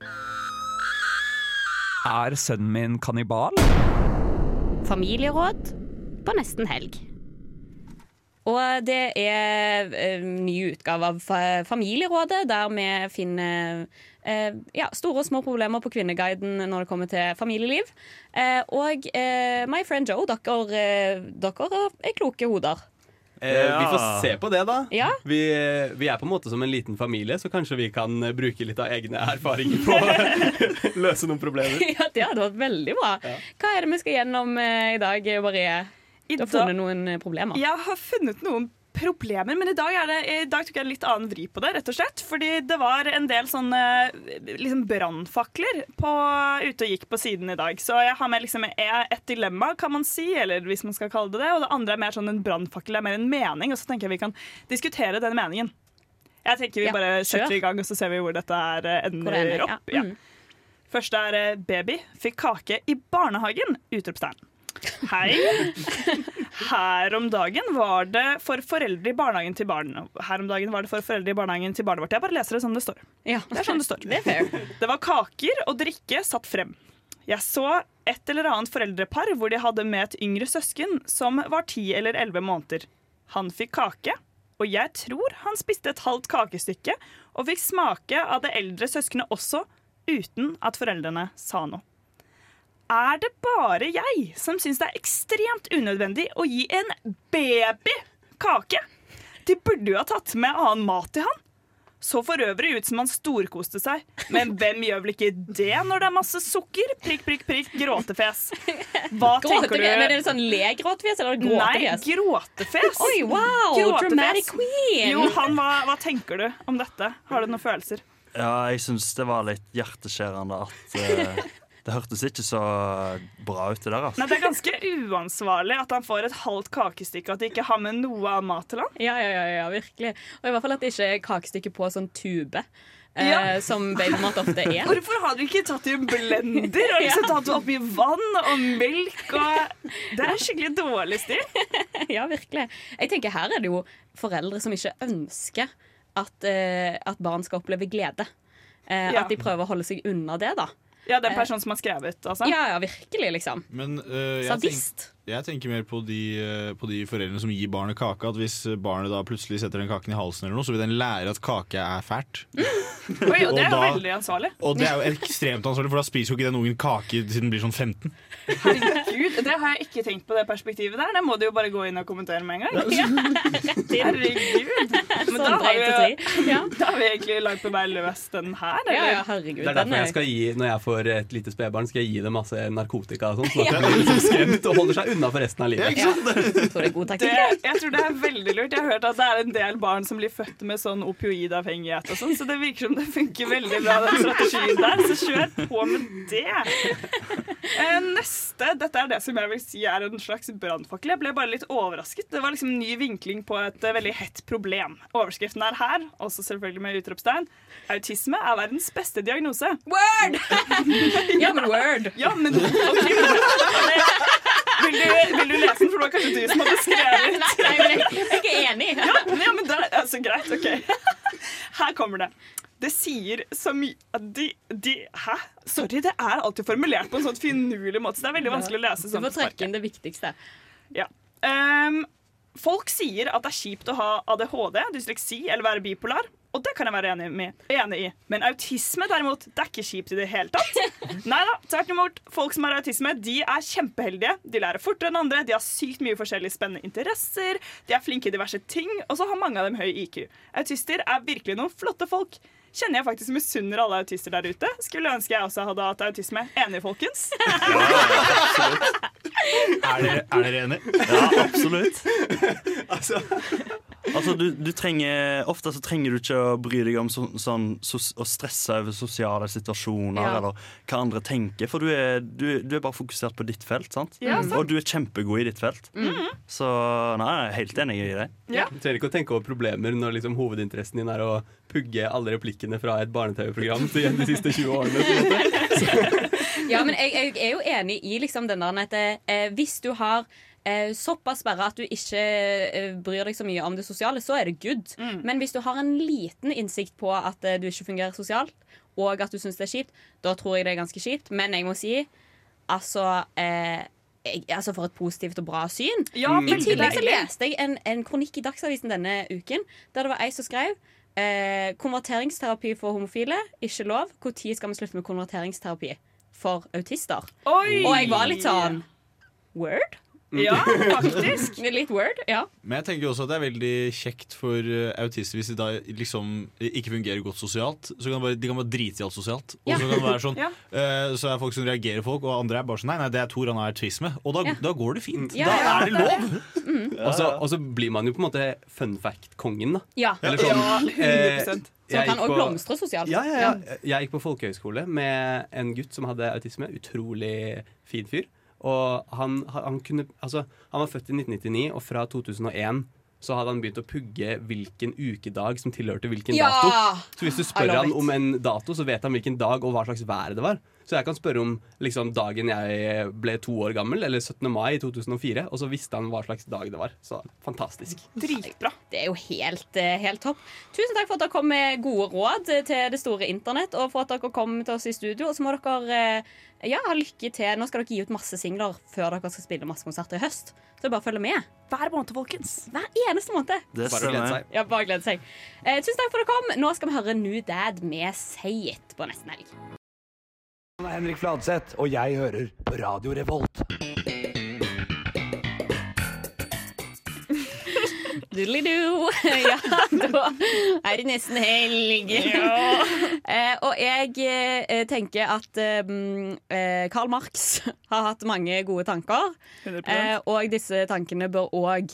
Speaker 2: Er sønnen min kannibal?
Speaker 8: Familieråd på nesten helg. Og det er eh, ny utgave av fa- Familierådet, der vi finner eh, ja, store og små problemer på Kvinneguiden når det kommer til familieliv. Eh, og eh, My Friend Joe, dere, eh, dere er kloke hoder.
Speaker 19: Eh, Vi får se på det, da.
Speaker 8: Ja.
Speaker 19: Vi, vi er på en måte som en liten familie, så kanskje vi kan eh, bruke litt av egne erfaringer på å løse noen problemer.
Speaker 8: ja, det hadde vært veldig bra. Hva er det vi skal gjennom eh, i dag, Marie? Du har funnet noen eh, problemer.
Speaker 9: Jeg har funnet noen problemer, men i dag, er det, i dag tok jeg en litt annen vri på det, rett og slett. Fordi det var en del sånne liksom brannfakler på- ute og gikk på siden i dag. Så jeg har med liksom et dilemma, kan man si, eller hvis man skal kalle det det. Og det andre er mer sånn en brannfakkel, det er mer en mening, og så tenker jeg vi kan diskutere den meningen. Jeg tenker vi
Speaker 22: Ja,
Speaker 9: bare
Speaker 22: kjør.
Speaker 9: setter i gang, og så ser vi hvor dette her eh, ender,
Speaker 22: Hvor det ender, ja.
Speaker 9: opp. Ja.
Speaker 22: Mm.
Speaker 9: Første er eh, baby fikk kake i barnehagen! Utropstegn. Hei. Her om dagen var det for foreldre i barnehagen til barn. Her om dagen var det for foreldre i barnehagen til barnet vårt. Jeg bare leser det som det står. Det er sånn det står. Det, var kaker og drikke satt frem. Jeg så et eller annet foreldrepar hvor de hadde med et yngre søsken som var ti eller elleve måneder. Han fikk kake, og jeg tror han spiste et halvt kakestykke og fikk smake av det eldre søskenet også, uten at foreldrene sa noe. Er det bare jeg som syns det er ekstremt unødvendig å gi en baby kake? De burde jo ha tatt med annen mat til han. Så for øvrig ut som han storkoste seg. Men hvem gjør vel ikke det når det er masse sukker? Prikk, prikk, prikk, gråtefjes. Hva
Speaker 8: Gråtefjes?
Speaker 9: tenker du?
Speaker 8: Men er det sånn legråtefjes eller gråtefjes?
Speaker 9: Nei, gråtefjes.
Speaker 8: Oi, wow, dramatic queen.
Speaker 9: Jo, han, hva, hva tenker du om dette? Har du noen følelser?
Speaker 1: Ja, jeg syns det var litt hjerteskjærende at eh, Det hørtes ikke så bra ut, det der.
Speaker 9: Nei,
Speaker 1: Altså.
Speaker 9: Det er ganske uansvarlig at han får et halvt kakestykke, at de ikke har med noe av mat til han.
Speaker 8: Ja, ja, ja, ja, virkelig. Og i hvert fall at det ikke er kakestykke på sånn tube, eh,
Speaker 9: Ja.
Speaker 8: som babymat ofte er.
Speaker 9: Hvorfor har du ikke tatt i en blender og liksom
Speaker 8: Ja.
Speaker 9: tatt oppi vann og melk? Og det er skikkelig dårlig stil.
Speaker 8: ja, virkelig. Jeg tenker Her er det jo foreldre som ikke ønsker at, eh, at barn skal oppleve glede. Eh,
Speaker 9: Ja.
Speaker 8: At de prøver å holde seg unna det, da.
Speaker 9: Ja, den personen som har skrevet, altså.
Speaker 8: Ja, ja, virkelig, liksom.
Speaker 10: Men eh, jeg, tenk,
Speaker 8: Sadist.
Speaker 10: jeg tenker mer på de, eh, på de foreldrene som gir barnet kake. At hvis barnet da plutselig setter den kaken i halsen, eller noe, så vil den lære at kake er fælt.
Speaker 9: Oi, og det er jo
Speaker 10: da-
Speaker 9: veldig ansvarlig.
Speaker 10: Og det er jo ekstremt ansvarlig, for da spiser jo ikke den ungen kake siden den blir sånn 15.
Speaker 9: Herregud, det har jeg ikke tenkt på det perspektivet der. Det må du jo bare gå inn og kommentere med en gang. Herregud. Men da
Speaker 8: Sånn
Speaker 9: har,
Speaker 8: dreit
Speaker 9: vi, da har vi egentlig lagt på vei løs den her,
Speaker 8: Ja,
Speaker 9: eller?
Speaker 8: ja, herregud.
Speaker 19: Det er derfor jeg skal gi, når jeg får et lite spedbarn, skal jeg gi det masse narkotika og sånn. Sånn at
Speaker 9: Ja.
Speaker 19: det blir liksom skremt og holder seg unna for resten av livet.
Speaker 8: Jeg tror det er god
Speaker 9: Det,
Speaker 8: taktikk.
Speaker 9: jeg tror det er veldig lurt. Jeg har hørt at det er en del barn som blir født med sånn opioidavhengighet og sånn, så det virker som det funker veldig bra, den strategien der. Så kjør på med det. Eh, Neste. Dette er det som jeg vil si er en slags brannfakkel. Jeg ble bare litt overrasket. Det var liksom en ny vinkling på et eh, veldig hett problem. Overskriften er her, også selvfølgelig med utropstegn. Autisme er verdens beste diagnose. Word!
Speaker 8: ja, men word.
Speaker 9: Ja, men ok, vil du, vil du lese den, for det var kanskje du som hadde skrevet?
Speaker 8: Nei, nei, men jeg- jeg er ikke enig.
Speaker 9: Ja, ja men det er altså, greit, ok. Her kommer det. Det sier så mye at de, de Hæ? Sorry, det er alltid formulert på en sånn finurlig måte, så det er veldig vanskelig å lese sånn.
Speaker 8: Du får trekke inn det viktigste.
Speaker 9: Ja. Ehm, folk sier at det er kjipt å ha ADHD, dysleksi eller være bipolar. Og det kan jeg være enig, med, enig i. Men autisme derimot, det er ikke kjipt i det hele tatt. Nei da, tvert imot. Folk som har autisme, de er kjempeheldige. De lærer fortere enn andre, de har sykt mye forskjellige spennende interesser, de er flinke i diverse ting, og så har mange av dem høy IQ. Autister er virkelig noen flotte folk. Kjenner jeg faktisk misunner alle autister der ute. Skulle ønske jeg også hadde hatt autisme. Enig, folkens?
Speaker 10: Er dere, er dere enige?
Speaker 1: Ja, absolutt.
Speaker 10: Altså,
Speaker 1: Altså, du, du trenger, ofte så trenger du ikke å bry deg om så, sånn, sos, å stresse over sosiale situasjoner
Speaker 9: Ja.
Speaker 1: eller hva andre tenker, for du er, du, du er bare fokusert på ditt felt, sant?
Speaker 9: Ja, sant. Mm.
Speaker 1: Og du er kjempegod i ditt felt. Så nei, jeg er helt enig i deg.
Speaker 9: Ja.
Speaker 19: Du trenger ikke å tenke over problemer når liksom hovedinteressen din er å pugge alle replikkene fra et barne-TV-program til de siste 20 årene. på en måte.
Speaker 8: Ja, men jeg, jeg er jo enig i liksom den der at eh, hvis du har eh, såpass bare at du ikke eh, bryr deg så mye om det sosiale, så er det good.
Speaker 9: Mm.
Speaker 8: Men hvis du har en liten innsikt på at eh, du ikke fungerer sosialt, og at du syns det er kjipt, da tror jeg det er ganske kjipt. Men jeg må si altså eh, jeg, altså For et positivt og bra syn.
Speaker 9: Ja,
Speaker 8: I
Speaker 9: veldig
Speaker 8: tillegg så
Speaker 9: deilig.
Speaker 8: leste jeg en, en kronikk i Dagsavisen denne uken der det var ei som skrev eh, konverteringsterapi for homofile ikke lov. Når skal vi slutte med konverteringsterapi for autister?
Speaker 9: Oi!
Speaker 8: Og jeg var litt sånn Word?
Speaker 9: Ja, faktisk.
Speaker 8: litt word, ja.
Speaker 6: Men jeg tenker jo også at det er veldig kjekt for eh, autister hvis de da liksom ikke fungerer godt sosialt. Så kan de bare, de kan bare drite i alt sosialt. Og
Speaker 8: Ja.
Speaker 6: så kan det være sånn
Speaker 8: Ja.
Speaker 6: eh, Så er det folk som reagerer folk, og andre er bare sånn Nei, nei, det er Tor, han har autisme. Og da, da går det fint.
Speaker 8: Ja,
Speaker 6: da
Speaker 8: ja,
Speaker 6: er det
Speaker 8: det er
Speaker 6: lov!
Speaker 19: Og så- Og så blir man jo på en måte fun fact-kongen, da.
Speaker 8: Ja.
Speaker 19: Eller
Speaker 8: Ja,
Speaker 19: sånn, eh,
Speaker 8: 100%.
Speaker 19: jeg
Speaker 8: Som kan
Speaker 19: gikk
Speaker 8: også
Speaker 19: på-
Speaker 8: blomstre sosialt.
Speaker 19: Ja, ja, ja. Jeg gikk på folkehøyskole med en gutt som hadde autisme. Utrolig fin fyr. Og han, han, kunne, altså, han var født i 1999, og fra 2001 så hadde han begynt å pugge hvilken ukedag som tilhørte hvilken
Speaker 8: Ja!
Speaker 19: dato. Så hvis
Speaker 8: I
Speaker 19: du spør
Speaker 8: love
Speaker 19: han
Speaker 8: it.
Speaker 19: om en dato, så vet han hvilken dag og hva slags vær det var. Så jeg kan spørre om liksom, dagen jeg ble to år gammel, eller 17. mai i 2004, og så visste han hva slags dag det var. Så fantastisk.
Speaker 9: Dritbra.
Speaker 8: Det er jo helt, eh, helt topp. Tusen takk for at dere kom med gode råd eh, til det store internett, og for at dere kom til oss i studio. Og så må dere eh, ja, ha lykke til. Nå skal dere gi ut masse singler før dere skal spille masse konserter i høst. Så det er bare å følge med.
Speaker 9: Hver måned, folkens.
Speaker 8: Hver eneste måned.
Speaker 1: Det Bare å glede stemmer. seg.
Speaker 8: Ja, bare å glede seg. Eh, tusen takk for at dere kom. Nå skal vi høre New Dad med Say It på nesten helg.
Speaker 3: Han er Henrik Fladseth, og jeg hører Radio Revolt.
Speaker 8: Doodly-doo. Ja, da er det nesten helg.
Speaker 9: Ja.
Speaker 8: Eh, og jeg eh, tenker at eh, mm, eh, Karl Marx har hatt mange gode tanker.
Speaker 9: 100%.
Speaker 8: Eh, og disse tankene bør òg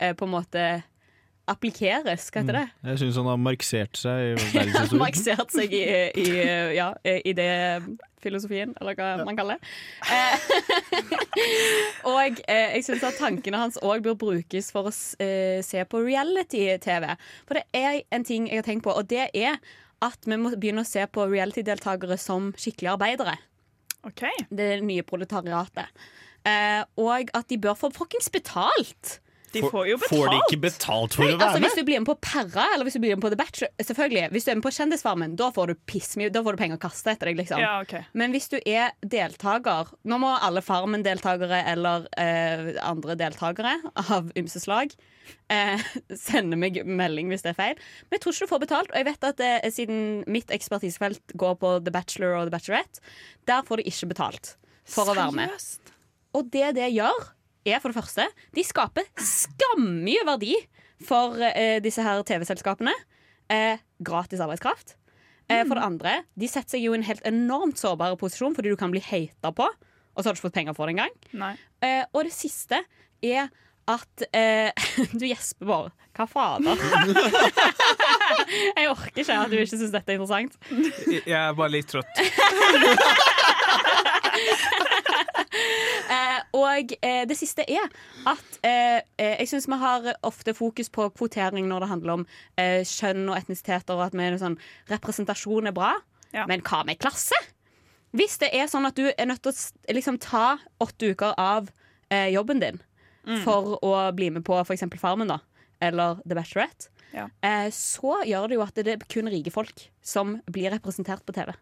Speaker 8: eh, på en måte applikeres, hva heter det?
Speaker 10: Jeg syns han har marksert seg i verdenshistorien.
Speaker 8: Marxert seg i, i, ja, i det filosofien, eller hva man kaller det. Eh, og eh, jeg syns at tankene hans òg bør brukes for å s- eh, se på reality-TV. For det er en ting jeg har tenkt på, og det er at vi må begynne å se på reality-deltakere som skikkelige arbeidere. Det nye proletariatet. Eh, og at de bør få fuckings betalt!
Speaker 6: Får de ikke betalt for
Speaker 8: Nei,
Speaker 6: å være
Speaker 8: altså Hvis du
Speaker 6: med?
Speaker 8: blir med på Perra eller hvis du blir med på The Bachelor Selvfølgelig, Hvis du er med på Kjendisfarmen, da får du piss mye Da får du penger å kaste etter deg. liksom
Speaker 9: Ja, ok.
Speaker 8: Men hvis du er deltaker Nå må alle Farmen-deltakere eller eh, andre deltakere av ymse slag eh, sende meg melding hvis det er feil. Men jeg tror ikke du får betalt. Og jeg vet at eh, siden mitt ekspertisefelt går på The Bachelor og The Bachelorette, der får du ikke betalt for å være med.
Speaker 9: Seriøst?
Speaker 8: Og det det gjør, er for det første De skaper skammye verdi for eh, disse her TV-selskapene. Eh, gratis arbeidskraft. Eh, for det andre, de setter seg jo i en helt enormt sårbar posisjon fordi du kan bli hata på, og så har du ikke fått penger for det engang.
Speaker 9: Nei.
Speaker 8: Eh, og det siste er at eh, Du gjesper bare. Hva fader? Jeg orker ikke at du ikke syns dette er interessant.
Speaker 22: Jeg er bare litt trøtt.
Speaker 8: Eh, og eh, det siste er at eh, eh, jeg syns vi har ofte fokus på kvotering når det handler om eh, kjønn og etnisiteter, og at vi er sånn, representasjon er bra. Men hva med klasse? Hvis det er sånn at du er nødt til å s- liksom, ta åtte uker av eh, jobben din
Speaker 9: Mm.
Speaker 8: for å bli med på f.eks. Farmen, da, eller The Bachelorette, eh, så gjør det jo at det er kun rike folk som blir representert på TV.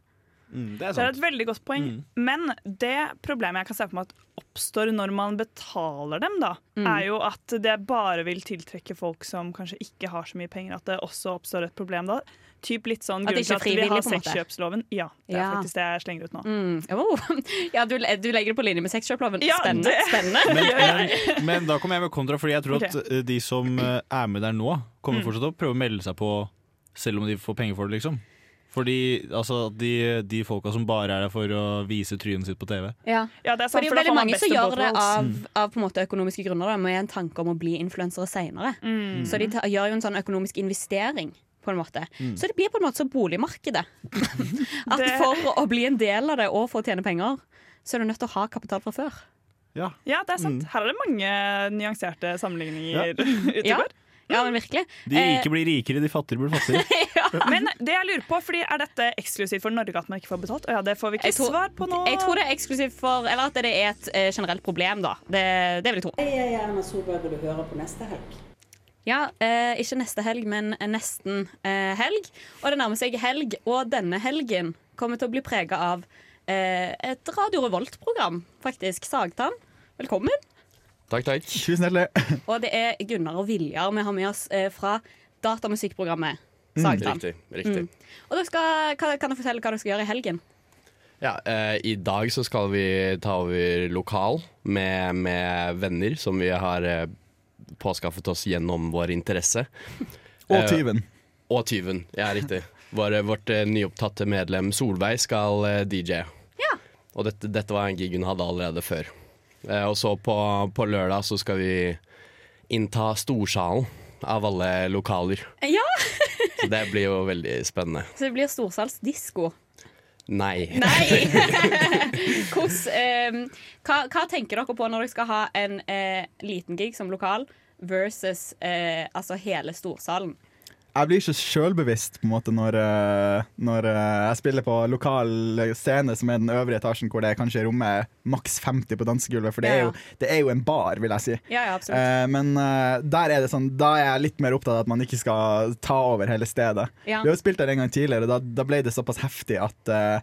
Speaker 9: Det er, et veldig godt poeng. Men det problemet jeg kan se for meg at oppstår når man betaler dem, da,
Speaker 8: Mm.
Speaker 9: er jo at det bare vil tiltrekke folk som kanskje ikke har så mye penger. At det også oppstår et problem da. Typ litt sånn
Speaker 8: At det
Speaker 9: grunn
Speaker 8: ikke er
Speaker 9: til at vi har
Speaker 8: frivillig, på en måte.
Speaker 9: sexkjøpsloven. Ja, det er
Speaker 8: Ja.
Speaker 9: faktisk det jeg slenger ut nå.
Speaker 8: Mm. Oh. Ja, du, du legger det på linje med sexkjøploven.
Speaker 9: Ja,
Speaker 8: spennende.
Speaker 9: det-
Speaker 8: spennende.
Speaker 6: Men, men, men da kommer jeg med kontra, Fordi jeg tror at
Speaker 8: Ok.
Speaker 6: eh, de som eh, er med der nå, kommer
Speaker 8: Mm.
Speaker 6: fortsatt til å prøve å melde seg på selv om de får penger for det, liksom. Fordi altså, de, de folka som bare er der for å vise trynet sitt på TV.
Speaker 8: Ja.
Speaker 9: Ja, det er sant,
Speaker 8: Fordi
Speaker 9: for da
Speaker 8: veldig
Speaker 9: får man
Speaker 8: mange
Speaker 9: best
Speaker 8: som
Speaker 9: of
Speaker 8: gjør
Speaker 9: both
Speaker 8: det
Speaker 9: worlds.
Speaker 8: av,
Speaker 9: Mm.
Speaker 8: av på en måte økonomiske grunner, da, med en tanke om å bli influensere senere.
Speaker 9: Mm.
Speaker 8: Så de ta, gjør jo en sånn økonomisk investering. På en måte.
Speaker 9: Mm.
Speaker 8: Så det blir på en måte så boligmarkedet. At
Speaker 9: Det-
Speaker 8: For å bli en del av det og for å tjene penger, så er du nødt til å ha kapital fra før.
Speaker 10: Ja.
Speaker 9: det er sant. Her er det mange nyanserte sammenligninger ute og
Speaker 8: Ja.
Speaker 9: går.
Speaker 8: Ja, men virkelig.
Speaker 10: De
Speaker 8: Eh.
Speaker 10: rike blir rikere, de fattige blir fattigere.
Speaker 9: Men det jeg lurer på, fordi er dette eksklusivt for Norge at man ikke får betalt? Å ja, det får vi ikke
Speaker 8: Jeg tror-
Speaker 9: svar på nå.
Speaker 8: Jeg tror det er eksklusivt for Eller at det er et eh, generelt problem, da. Det, det vil jeg tro.
Speaker 4: Jeg er Erna Solberg, og du hører på neste helg.
Speaker 8: Ja, eh, ikke neste helg, men nesten eh, helg. Og det nærmer seg helg, og denne helgen kommer til å bli prega av eh, et Radio Revolt-program, faktisk. Sagtann, velkommen.
Speaker 5: Takk, takk.
Speaker 23: Tusen hjertelig.
Speaker 8: Og det er Gunnar og Viljar vi har med oss eh, fra datamusikkprogrammet
Speaker 5: Mm.
Speaker 8: Sagtann.
Speaker 5: Riktig, riktig.
Speaker 8: Og dere skal, kan, kan dere fortelle hva dere skal gjøre i helgen?
Speaker 5: Ja, eh, I dag så skal vi ta over lokal med, med venner som vi har eh, påskaffet oss gjennom vår interesse.
Speaker 23: Og
Speaker 5: Eh,
Speaker 23: tyven.
Speaker 5: og tyven, ja riktig. Vår, vårt eh, nyopptatte medlem Solveig skal eh, DJ. Og dette, dette var en gig hun hadde allerede før. Eh, og så på, på lørdag så skal vi innta Storsalen av alle lokaler.
Speaker 8: Ja!
Speaker 5: Så det blir jo veldig spennende.
Speaker 8: Så det blir storsalgsdisko.
Speaker 5: Nei.
Speaker 8: Nei! Hvordan, ehm, hva, hva tenker dere på når dere skal ha en eh, liten gig som lokal versus eh, altså hele storsalen?
Speaker 23: Jeg blir ikke sjølbevisst på en måte når, eh, når eh, jeg spiller på lokal scene, som er den øvrige etasjen, hvor det er kanskje rommet maks 50 på dansegulvet, for det er, jo, det er jo en bar, vil jeg si.
Speaker 8: Ja, ja, absolutt.
Speaker 23: Eh, men eh, der er det sånn, da er jeg litt mer opptatt av at man ikke skal ta over hele stedet.
Speaker 24: Ja.
Speaker 23: Vi har jo spilt der en gang tidligere, og da, da ble det såpass heftig at eh,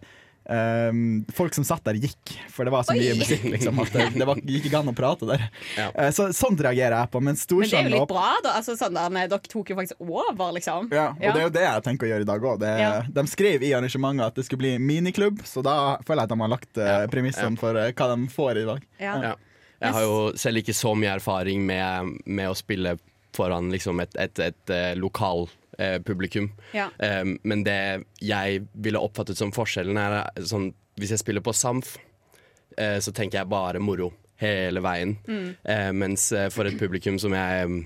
Speaker 23: ehm, folk som satt der, gikk. For det var så
Speaker 24: Oi!
Speaker 23: mye musikk liksom, at det, det var, gikk ikke an å prate der. Eh, så, sånt reagerer jeg på. Men
Speaker 8: Men det er jo
Speaker 23: Storsand
Speaker 8: litt bra, da. Altså, sånn der, med, dere tok jo faktisk over, liksom.
Speaker 23: ja, og det er jo det jeg tenker å gjøre i dag òg.
Speaker 8: Ja.
Speaker 23: De skrev i arrangementet at det skulle bli miniklubb, så da føler jeg at de har lagt eh, premissene for eh, hva de får i dag.
Speaker 8: Ja.
Speaker 5: Ja. Jeg har jo selv ikke så mye erfaring med, med å spille foran liksom et, et, et, eh, lokal eh, publikum.
Speaker 25: Ja.
Speaker 5: Eh, men det jeg ville oppfattet som forskjellen, er eh, sånn Hvis jeg spiller på Samf, eh, så tenker jeg bare moro hele veien.
Speaker 25: Mm.
Speaker 5: Eh, mens eh, for et publikum som jeg mm,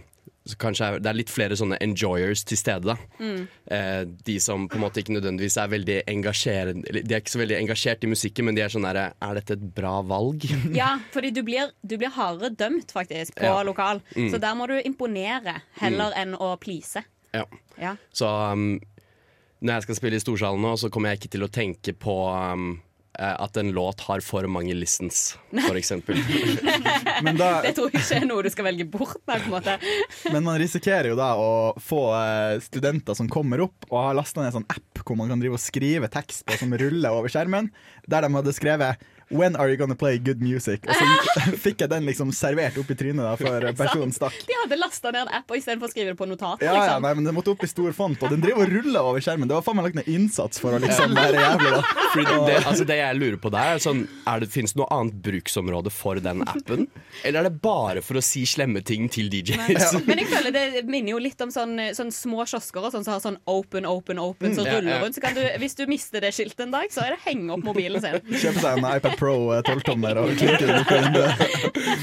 Speaker 5: så Kanskje er, det er litt flere sånne enjoyers til stede, da.
Speaker 25: Mm.
Speaker 5: Eh, de som på en måte ikke nødvendigvis er veldig engasjerende eller De er ikke så veldig engasjert i musikken, men de er sånn derre Er dette et bra valg?
Speaker 8: Ja, fordi du blir, du blir hardere dømt, faktisk, på
Speaker 5: Ja.
Speaker 8: lokal.
Speaker 5: Mm.
Speaker 8: Så der må du imponere heller
Speaker 23: Mm.
Speaker 8: enn å please.
Speaker 5: Ja.
Speaker 8: Ja.
Speaker 5: Så um, når jeg skal spille i storsalen nå, så kommer jeg ikke til å tenke på um, eh, at en låt har for mange listens, for eksempel.
Speaker 23: da-
Speaker 8: det tror jeg ikke er noe du skal velge bort. Nei, på en måte.
Speaker 23: Men man risikerer jo da å få eh, studenter som kommer opp og har lasta ned en sånn app hvor man kan drive og skrive tekst på som ruller over skjermen, der de hadde skrevet When are you gonna play good music? Og så fikk jeg den liksom servert opp i trynet da, for personen stakk.
Speaker 8: De hadde lasta ned en app og istedenfor å skrive det på notater.
Speaker 23: Ja, ja,
Speaker 8: Liksom.
Speaker 23: nei, men Den måtte opp i stor font, og den driver og ruller over skjermen. Det var faen meg lagt ned innsats for å liksom være jævlig. da
Speaker 5: Fordi det, altså det jeg lurer på der, er sånn er det, Finnes det noe annet bruksområde for den appen? Eller er det bare for å si slemme ting til DJs?
Speaker 8: Men jeg føler det minner jo litt om sånn, sånn små kiosker og sånn, som har sånn open, open, open,
Speaker 5: Mm,
Speaker 8: som
Speaker 5: ja,
Speaker 8: ruller
Speaker 5: ja.
Speaker 8: rundt. Så kan du, hvis du mister det skiltet en dag, så er det henge opp mobilen sin.
Speaker 23: Kjøpe seg en iPad Pro eh, 12-tommer og klikke den opp i vinduet.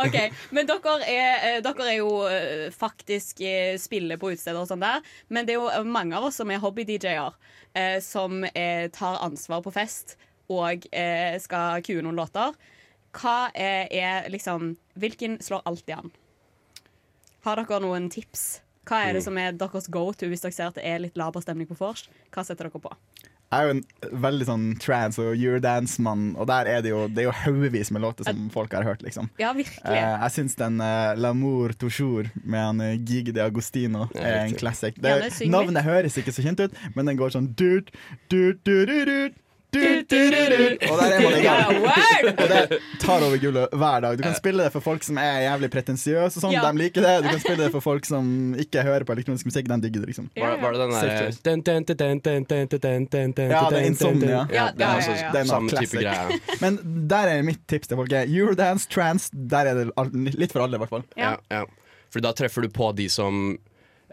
Speaker 8: Ok, Men dere er, eh, dere er jo eh, faktisk eh, spiller på utesteder og sånn der. Men det er jo eh, mange av oss som er hobby-DJ-er, eh, som eh, tar ansvar på fest og eh, skal kue noen låter. Hva er, er liksom Hvilken slår alltid an? Har dere noen tips? Hva er det
Speaker 23: Mm.
Speaker 8: som er deres go to hvis dere ser at det er litt laber stemning på vors? Hva setter dere på?
Speaker 23: Jeg er jo en veldig sånn trans- og eurodance-mann, og der er det jo Det er jo haugevis med låter som folk har hørt, liksom.
Speaker 8: Ja,
Speaker 23: Eh,
Speaker 8: virkelig.
Speaker 23: jeg syns den eh, 'L'amour toujours' med han eh, Gigi de Agostino er en classic. Det,
Speaker 8: Janne, syng litt.
Speaker 23: navnet høres ikke så kjent ut, men den går sånn dut, dut, dut, dut, dut.
Speaker 8: Du, du, du, du.
Speaker 23: Og der er man i gang.
Speaker 8: Ja, wow!
Speaker 23: Og det tar over gulvet hver dag. Du kan spille det for folk som er jævlig pretensiøse, og sånn,
Speaker 5: Ja.
Speaker 23: de liker det. Du kan spille det for folk som ikke hører på elektronisk musikk, de digger det, liksom.
Speaker 5: Var, var det den
Speaker 23: Safe choice.
Speaker 5: derre
Speaker 23: Ja, det er insomnia.
Speaker 5: Ja, det er altså
Speaker 23: Det er noe
Speaker 5: samme type
Speaker 23: classic.
Speaker 5: greie.
Speaker 23: Men der er mitt tips til folk. er Eurodance, trance, der er det al- litt for alle, i hvert fall.
Speaker 5: Ja, ja. For da treffer du på de som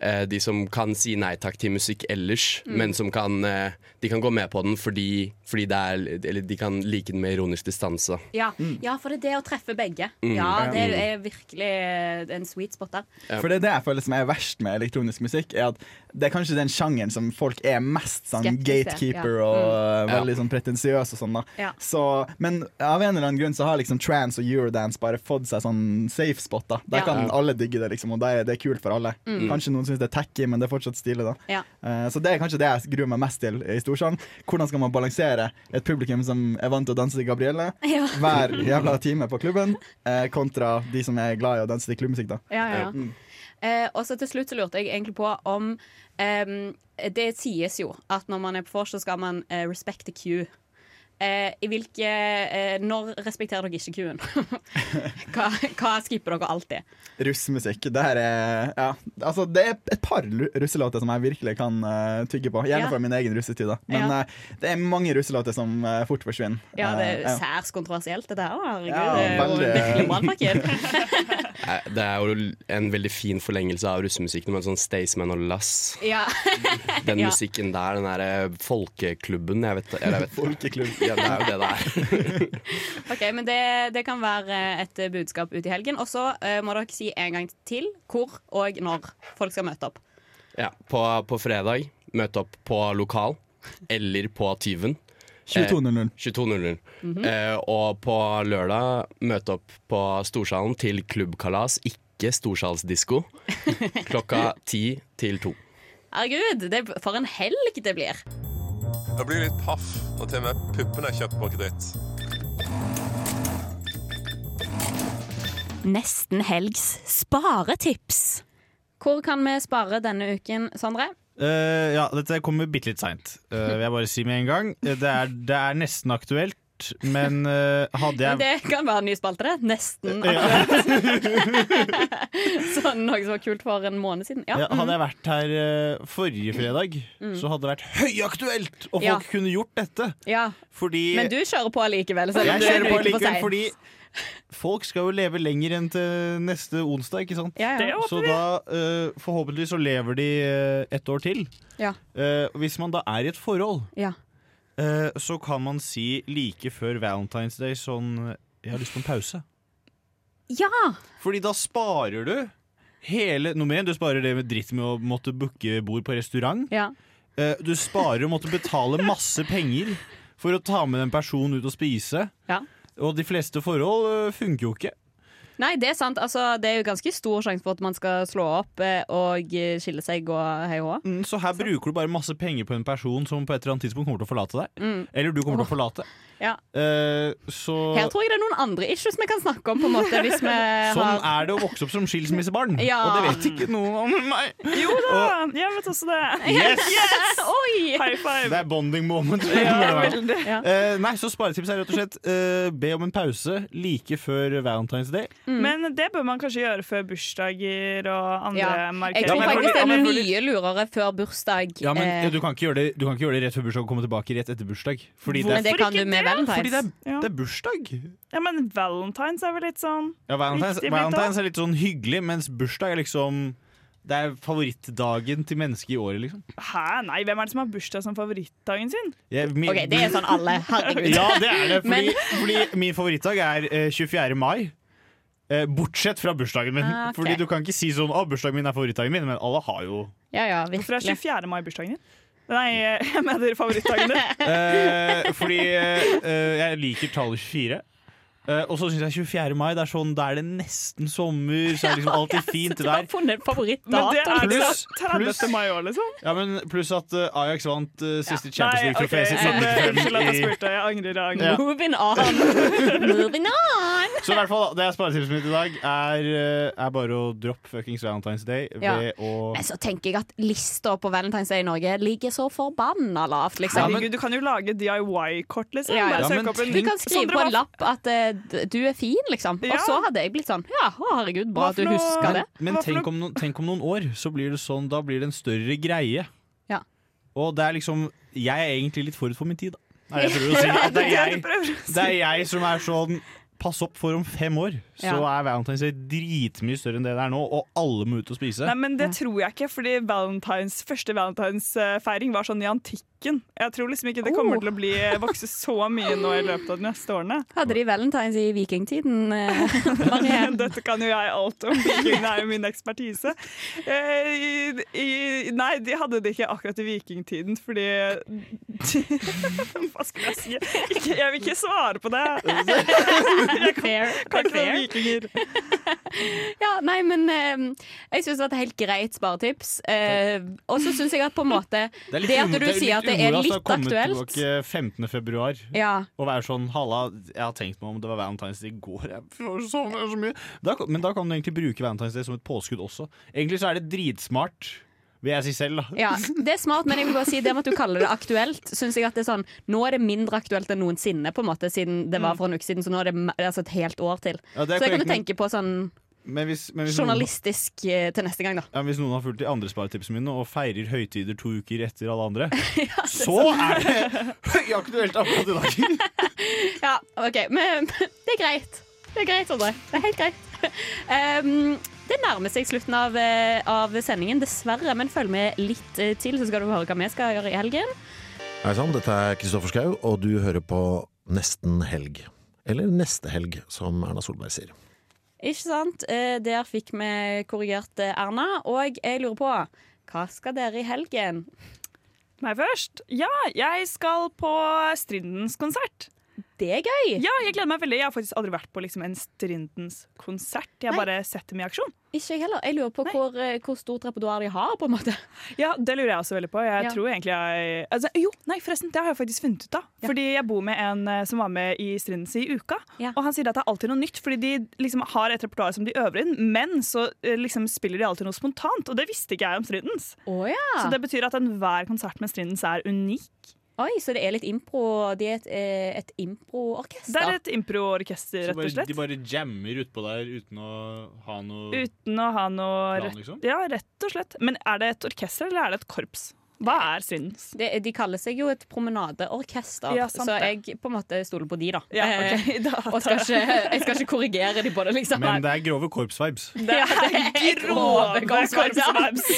Speaker 5: eh, de som kan si nei takk til musikk ellers,
Speaker 7: Mm.
Speaker 5: men som kan eh, De kan gå med på den fordi, fordi det er Eller de kan like den med ironisk distanse. da.
Speaker 8: Ja,
Speaker 23: Mm.
Speaker 8: ja, for det er det å treffe begge.
Speaker 5: Mm.
Speaker 8: Ja, det
Speaker 23: Ja.
Speaker 8: er virkelig eh, en sweet spot der.
Speaker 23: For det er det jeg føler som er verst med elektronisk musikk. Er at Det er kanskje den sjangeren som folk er mest sånn
Speaker 8: Skeptiske,
Speaker 23: gatekeeper
Speaker 8: ja.
Speaker 23: og
Speaker 8: Mm.
Speaker 23: uh, veldig sånn pretensiøs og sånn. da
Speaker 8: Ja.
Speaker 23: så, Men av en eller annen grunn så har liksom trans og eurodance bare fått seg sånn safe spot. da Der
Speaker 8: Ja.
Speaker 23: kan
Speaker 8: Ja.
Speaker 23: alle digge det, liksom og det er, det er kult for alle.
Speaker 8: Mm.
Speaker 23: Kanskje noen syns det er tacky, men det er fortsatt stilig. da
Speaker 8: Ja.
Speaker 23: Eh, Så det er kanskje det jeg gruer meg mest til i Storsand. Hvordan skal man balansere et publikum som er vant til å danse til Gabrielle
Speaker 8: Ja.
Speaker 23: hver jævla time på klubben, eh, kontra de som er glad i å danse til klubbmusikk, da.
Speaker 8: Ja, ja, ja.
Speaker 23: Mm.
Speaker 8: Eh, og så til slutt så lurte jeg egentlig på om ehm, Det sies jo at når man er på vors, så skal man eh, respect the queue. Eh, I hvilke eh, Når respekterer dere ikke queuen? hva, hva skipper dere alltid?
Speaker 23: Russmusikk. Det, her er, ja, altså, det er et par lu- russelåter som jeg virkelig kan eh, tygge på. Gjerne
Speaker 8: Ja.
Speaker 23: fra min egen russetid, da. Men
Speaker 8: Ja.
Speaker 23: eh, det er mange russelåter som eh, fort forsvinner.
Speaker 8: Ja, det
Speaker 23: Eh,
Speaker 8: er
Speaker 23: ja.
Speaker 8: særs kontroversielt, dette her. Herregud,
Speaker 23: Ja,
Speaker 8: det er jo
Speaker 23: veldig.
Speaker 8: virkelig brannfakkel.
Speaker 5: Eh, Det er jo en veldig fin forlengelse av russemusikken, men sånn Staysman og Lass
Speaker 8: ja.
Speaker 5: Den
Speaker 8: Ja.
Speaker 5: musikken der, den derre folkeklubben jeg vet, eller jeg vet.
Speaker 23: Folkeklubb.
Speaker 5: Ja, det er jo det det er.
Speaker 8: Ok, men det, det kan være eh, et budskap ut i helgen. Og så eh, må dere si en gang til hvor og når folk skal møte opp.
Speaker 5: Ja, på, på fredag, møte opp på lokal eller på Tyven.
Speaker 23: 22.00.
Speaker 5: Eh, 22.00.
Speaker 23: Mhm.
Speaker 5: eh, og på lørdag, møte opp på Storsalen til klubbkalas, ikke storsalsdisko, klokka ti til to.
Speaker 8: Herregud, det, for en helg det blir!
Speaker 11: Det blir litt paff når til og med puppene er kjøpt på kreditt.
Speaker 8: Nesten helgs sparetips. Hvor kan vi spare denne uken, Sondre?
Speaker 10: Eh, ja, dette kommer bitte litt seint, eh, vil jeg bare si med en gang. Eh, Det er, det er nesten aktuelt, men eh, hadde jeg
Speaker 8: Men det kan være en ny spalte, det. Nesten akkurat. sånn noe som var kult for en måned siden. Ja.
Speaker 10: Ja,
Speaker 8: mhm.
Speaker 10: hadde jeg vært her eh, forrige fredag,
Speaker 8: Mm.
Speaker 10: så hadde det vært høyaktuelt! Og folk
Speaker 8: Ja.
Speaker 10: kunne gjort dette.
Speaker 8: Ja.
Speaker 10: Fordi
Speaker 8: Men du kjører på likevel, selv om
Speaker 10: Jeg
Speaker 8: du er
Speaker 10: kjører
Speaker 8: en uke
Speaker 10: på
Speaker 8: for
Speaker 10: likevel
Speaker 8: sent.
Speaker 10: fordi folk skal jo leve lenger enn til neste onsdag, ikke sant?
Speaker 8: Ja, ja. Det håper
Speaker 10: Så
Speaker 8: vi.
Speaker 10: da, eh, forhåpentlig så lever de eh, et år til.
Speaker 8: Ja.
Speaker 10: Eh, hvis man da er i et forhold,
Speaker 8: Ja.
Speaker 10: eh, så kan man si like før Valentine's Day sånn Jeg har lyst på en pause.
Speaker 8: ja!
Speaker 10: Fordi da sparer du hele Noe mer, du sparer det med dritt med å måtte booke bord på restaurant.
Speaker 8: Ja.
Speaker 10: Eh, du sparer å måtte betale masse penger for å ta med en person ut og spise.
Speaker 8: Ja.
Speaker 10: Og de fleste forhold eh, funker jo ikke.
Speaker 8: Nei, det er sant. Altså, det er jo ganske stor sjanse for at man skal slå opp eh, og eh, skille seg og hei hå.
Speaker 10: Mm, Så her bruker du bare masse penger på en person som på et eller annet tidspunkt kommer til å forlate deg.
Speaker 8: Mm.
Speaker 10: Eller du kommer til å forlate.
Speaker 8: Ja.
Speaker 10: Eh, så
Speaker 8: Her tror jeg det er noen andre issues vi kan snakke om, på en måte, hvis vi Eh,
Speaker 10: Sånn
Speaker 8: har
Speaker 10: er det å vokse opp som skilsmissebarn,
Speaker 8: Ja.
Speaker 10: og det vet ikke noen om meg.
Speaker 9: Jo da, jeg vet også det.
Speaker 10: Yes!
Speaker 8: Oi!
Speaker 9: High five.
Speaker 10: Det er bonding moment.
Speaker 9: Ja, veldig. Ja.
Speaker 10: Eh, nei, så sparetips er rett og slett eh, be om en pause like før Valentine's Day.
Speaker 8: Mm.
Speaker 9: Men det bør man kanskje gjøre før bursdager og andre
Speaker 8: ja. Jeg
Speaker 9: markeringer.
Speaker 8: tror faktisk det er
Speaker 10: men fordi-
Speaker 8: mye lurere før bursdag.
Speaker 10: Ja, men
Speaker 8: eh,
Speaker 10: eh, du, kan ikke gjøre det, du kan ikke gjøre det rett før bursdag og komme tilbake rett etter bursdag. Fordi det
Speaker 8: Men det
Speaker 10: er,
Speaker 8: kan du med valentines.
Speaker 10: fordi det er, det er bursdag.
Speaker 9: Ja, men valentines er vel litt sånn
Speaker 10: Ja, Valentine's,
Speaker 9: Riktig blitt
Speaker 10: Valentine's
Speaker 9: da.
Speaker 10: er litt sånn hyggelig, mens bursdag er liksom Det er favorittdagen til mennesket i året, liksom.
Speaker 9: Hæ, nei, hvem er det som har bursdag som favorittdagen sin?
Speaker 10: Jeg- min-
Speaker 8: OK, det er sånn alle. Herregud.
Speaker 10: Ja, det er det. Fordi,
Speaker 8: Men-
Speaker 10: fordi min favorittdag er eh, 24. mai. Eh, bortsett fra bursdagen min.
Speaker 8: Ah, ok.
Speaker 10: Fordi du kan ikke si sånn at bursdagen min er favorittdagen min, men alle har jo
Speaker 8: Ja, ja,
Speaker 9: Hvorfor er
Speaker 8: virkelig.
Speaker 9: 24. mai bursdagen din? Nei, jeg mener favorittdagen din.
Speaker 10: eh, Fordi eh, eh, jeg liker tallet 24. Eh, og så syns jeg 24. mai det er sånn, da er det nesten sommer, så er det liksom alltid fint
Speaker 8: Du har
Speaker 10: vær.
Speaker 8: funnet en
Speaker 9: Men
Speaker 8: favorittdato.
Speaker 9: det er det
Speaker 8: liksom.
Speaker 10: Pluss-
Speaker 9: 30.
Speaker 10: pluss-
Speaker 9: mai òg, liksom.
Speaker 10: Ja, men Pluss at eh, Ajax vant eh, siste Champions
Speaker 9: Nei, ok,
Speaker 10: League-trofé sitt
Speaker 9: sånn, eh,
Speaker 10: 95
Speaker 9: Unnskyld at jeg
Speaker 10: i-
Speaker 9: spurte. Jeg angrer. Jeg
Speaker 10: Ja.
Speaker 9: angrer.
Speaker 8: Moving on. Moving on.
Speaker 10: Så i hvert fall, det er sparetipset mitt i dag er, eh, er bare å droppe fuckings Valentine's Day ved
Speaker 8: Ja.
Speaker 10: å
Speaker 8: Men så tenker jeg at lista på Valentine's Day i Norge ligger så forbanna lavt, liksom.
Speaker 9: Herregud, du kan jo lage DIY-kort, liksom.
Speaker 8: Ja, ja.
Speaker 9: Bare søke opp en
Speaker 8: Du kan skrive
Speaker 9: Sondre,
Speaker 8: på
Speaker 9: hva
Speaker 8: en lapp at eh, d- du er fin, liksom.
Speaker 9: Ja.
Speaker 8: Og så hadde jeg blitt sånn Ja, å, herregud, bra
Speaker 9: Hva
Speaker 8: at du
Speaker 9: for noe-
Speaker 8: husker det.
Speaker 10: Men tenk om, noen, tenk om noen år, så blir det sånn, da blir det en større greie.
Speaker 8: Ja.
Speaker 10: Og det er liksom Jeg er egentlig litt forut for min tid, da. Nei, jeg prøver å si
Speaker 9: Ja,
Speaker 10: at det
Speaker 9: det er
Speaker 10: er
Speaker 9: det du prøver
Speaker 10: jeg,
Speaker 9: å si.
Speaker 10: det er jeg som er sånn Pass opp for om fem år, så
Speaker 9: Ja.
Speaker 10: er Valentine's Day dritmye større enn det det er nå, og alle må ut og spise.
Speaker 9: Nei, men Det tror jeg ikke, fordi Valentines, første valentinsfeiring var sånn i antikken. Jeg tror liksom ikke det kommer til å bli, vokse så mye nå i løpet av de neste årene.
Speaker 8: Hadde de valentines i vikingtiden? eh, Marianne?
Speaker 9: Dette kan jo jeg alt om, vikingene er jo min ekspertise. Eh, i, i, nei, de hadde det ikke akkurat i vikingtiden, fordi Hva skulle jeg si? Ikke, jeg vil ikke svare på det! Jeg kan, kan ikke noen vikinger.
Speaker 8: Ja, nei, men eh, jeg syns det var et helt greit sparetips. Eh, og så syns jeg at på en måte Det, at du sier at det er litt aktuelt
Speaker 10: Det er litt umoralsk å komme tilbake 15. februar
Speaker 8: Ja.
Speaker 10: og være sånn Halla, jeg har tenkt meg om det var Valentine's Day i går. Jeg får sovne så mye. Da, kan- men da kan du egentlig bruke Valentine's Day som et påskudd også. Egentlig så er det dritsmart, vil jeg si selv. da.
Speaker 8: ja, Det er smart, men jeg vil bare si det med at du kaller det aktuelt. Synes jeg at det er sånn Nå er det mindre aktuelt enn noensinne, på en måte siden det var for en uke siden. Så nå er det me- altså et helt år til.
Speaker 10: Mm. Ja, det
Speaker 8: så
Speaker 10: er
Speaker 8: jeg kan jo
Speaker 10: korrekt, men-
Speaker 8: tenke på sånn
Speaker 10: Men hvis, men hvis noen-
Speaker 8: journalistisk eh, til neste gang, da.
Speaker 10: Ja, men hvis noen har fulgt de andre sparetipsene mine og feirer høytider to uker etter alle andre, så er det høyaktuelt akkurat i dag.
Speaker 8: Ja, ok, men det er greit. Det er greit, Sondre. Det er helt greit. Um, det nærmer seg slutten av, eh, av sendingen, dessverre, men følg med litt eh, til, så skal du høre hva vi skal gjøre i helgen.
Speaker 7: Hei sann, dette er Kristoffer Schau, og du hører på Nesten helg. Eller Neste helg, som Erna Solberg sier.
Speaker 8: Ikke sant? Eh, Der fikk vi korrigert eh, Erna, og jeg lurer på hva skal dere i helgen?
Speaker 9: Meg først? Ja, jeg skal på Strindens konsert.
Speaker 8: Det er gøy!
Speaker 9: Ja, jeg gleder meg veldig. Jeg har faktisk aldri vært på liksom, en Strindens konsert. Jeg har bare sett dem i aksjon.
Speaker 8: Ikke jeg heller. Jeg lurer på hvor, eh, hvor stort repertoar de har, på en måte.
Speaker 9: Ja, det lurer jeg også veldig på. Jeg
Speaker 8: Ja.
Speaker 9: tror egentlig jeg altså, Jo, nei, forresten, det har jeg faktisk funnet ut av. Fordi jeg bor med en eh, som var med i Strindens i uka, og han sier at det er alltid noe nytt. Fordi de liksom har et repertoar som de øver inn, men så eh, liksom spiller de alltid noe spontant. Og det visste ikke jeg om Strindens. Så det betyr at enhver konsert med Strindens er unik.
Speaker 8: Oi, så det er litt impro De er et, eh, et improorkester?
Speaker 9: Det er et improorkester,
Speaker 10: Så
Speaker 9: rett og
Speaker 10: bare,
Speaker 9: slett.
Speaker 10: de bare jammer utpå der uten å ha noe
Speaker 9: Uten å ha noe
Speaker 10: Mm. Plan,
Speaker 9: rett,
Speaker 10: liksom?
Speaker 9: Ja, rett og slett. Men er det et orkester, eller er det et korps? Hva er Strindens?
Speaker 8: Det, de kaller seg jo et promenadeorkester,
Speaker 9: Ja, sant
Speaker 8: så
Speaker 9: det.
Speaker 8: jeg på en måte stoler på de, da.
Speaker 9: Ja, ok.
Speaker 8: Eh,
Speaker 9: Da
Speaker 8: og skal
Speaker 9: tar
Speaker 8: ikke,
Speaker 9: jeg-
Speaker 8: jeg skal ikke korrigere de på det, liksom.
Speaker 10: Men det er grove korpsvibes.
Speaker 8: Det er, det er grove korpsvibes.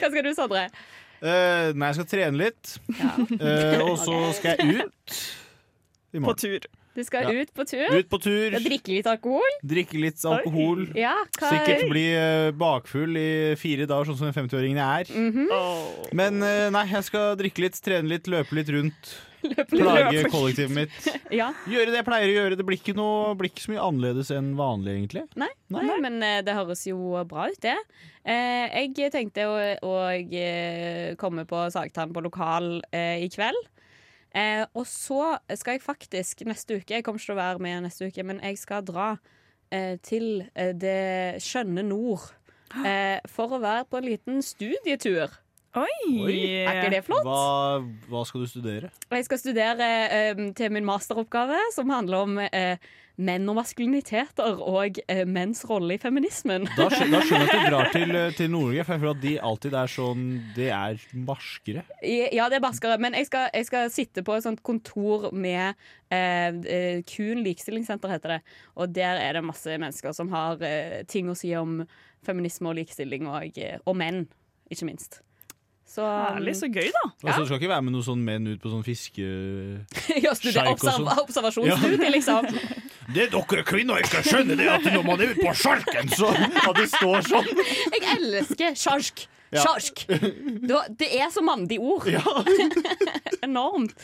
Speaker 8: Hva skal du, Sondre?
Speaker 10: Eh, nei, jeg skal trene litt. Eh, og så skal jeg ut. i morgen.
Speaker 9: På tur.
Speaker 8: Du skal
Speaker 10: Ja.
Speaker 8: ut på tur.
Speaker 10: Ut på tur.
Speaker 8: Og drikke litt alkohol.
Speaker 10: Drikke litt alkohol.
Speaker 8: Ja, hva
Speaker 10: Sikkert bli eh, bakfull i fire dager, sånn som den 50-åringen jeg er.
Speaker 8: Mm. Mhm.
Speaker 10: Men eh, nei, jeg skal drikke litt, trene litt, løpe litt rundt. Plage
Speaker 8: Løpe.
Speaker 10: kollektivet mitt.
Speaker 8: Ja.
Speaker 10: Gjøre det jeg pleier å gjøre. Det blir ikke, noe, blir ikke så mye annerledes enn vanlig, egentlig.
Speaker 8: Nei, nei, men eh, det høres jo bra ut, det. Eh, jeg tenkte å, å eh, komme på Sagtann på lokal eh, i kveld. Eh, og så skal jeg faktisk neste uke Jeg kommer ikke til å være med neste uke, men jeg skal dra eh, til eh, det skjønne nord. Eh, for å være på en liten studietur. Er ikke det flott?
Speaker 10: Hva, hva skal du studere?
Speaker 8: Og jeg skal studere eh, til min masteroppgave, som handler om eh, menn og maskuliniteter og eh, menns rolle i feminismen.
Speaker 10: Da, skjø- da skjønner jeg at du drar til, eh, til Nord-Norge, for jeg føler at de alltid er sånn De er barskere.
Speaker 8: Ja, det er baskere, men jeg skal, jeg skal sitte på et sånt kontor med eh, eh, Kun likestillingssenter, heter det. Og der er det masse mennesker som har eh, ting å si om feminisme og likestilling, og, eh, og menn, ikke minst. Så,
Speaker 9: Herlig, så gøy, da.
Speaker 10: Altså, Du skal ikke være med noen sånn menn ut på sånn fiske...
Speaker 8: Ja, studie,
Speaker 10: Sjeik og
Speaker 8: observ,
Speaker 10: sånn.
Speaker 8: observasjonsstudie, liksom.
Speaker 10: Det dere kvinner ikke skjønner, det er at når man er ute på sjarken, så At det står sånn.
Speaker 8: Jeg elsker sjarsk.
Speaker 10: Ja.
Speaker 8: Sjarsk. Det var- Det er så mandig ord. Enormt.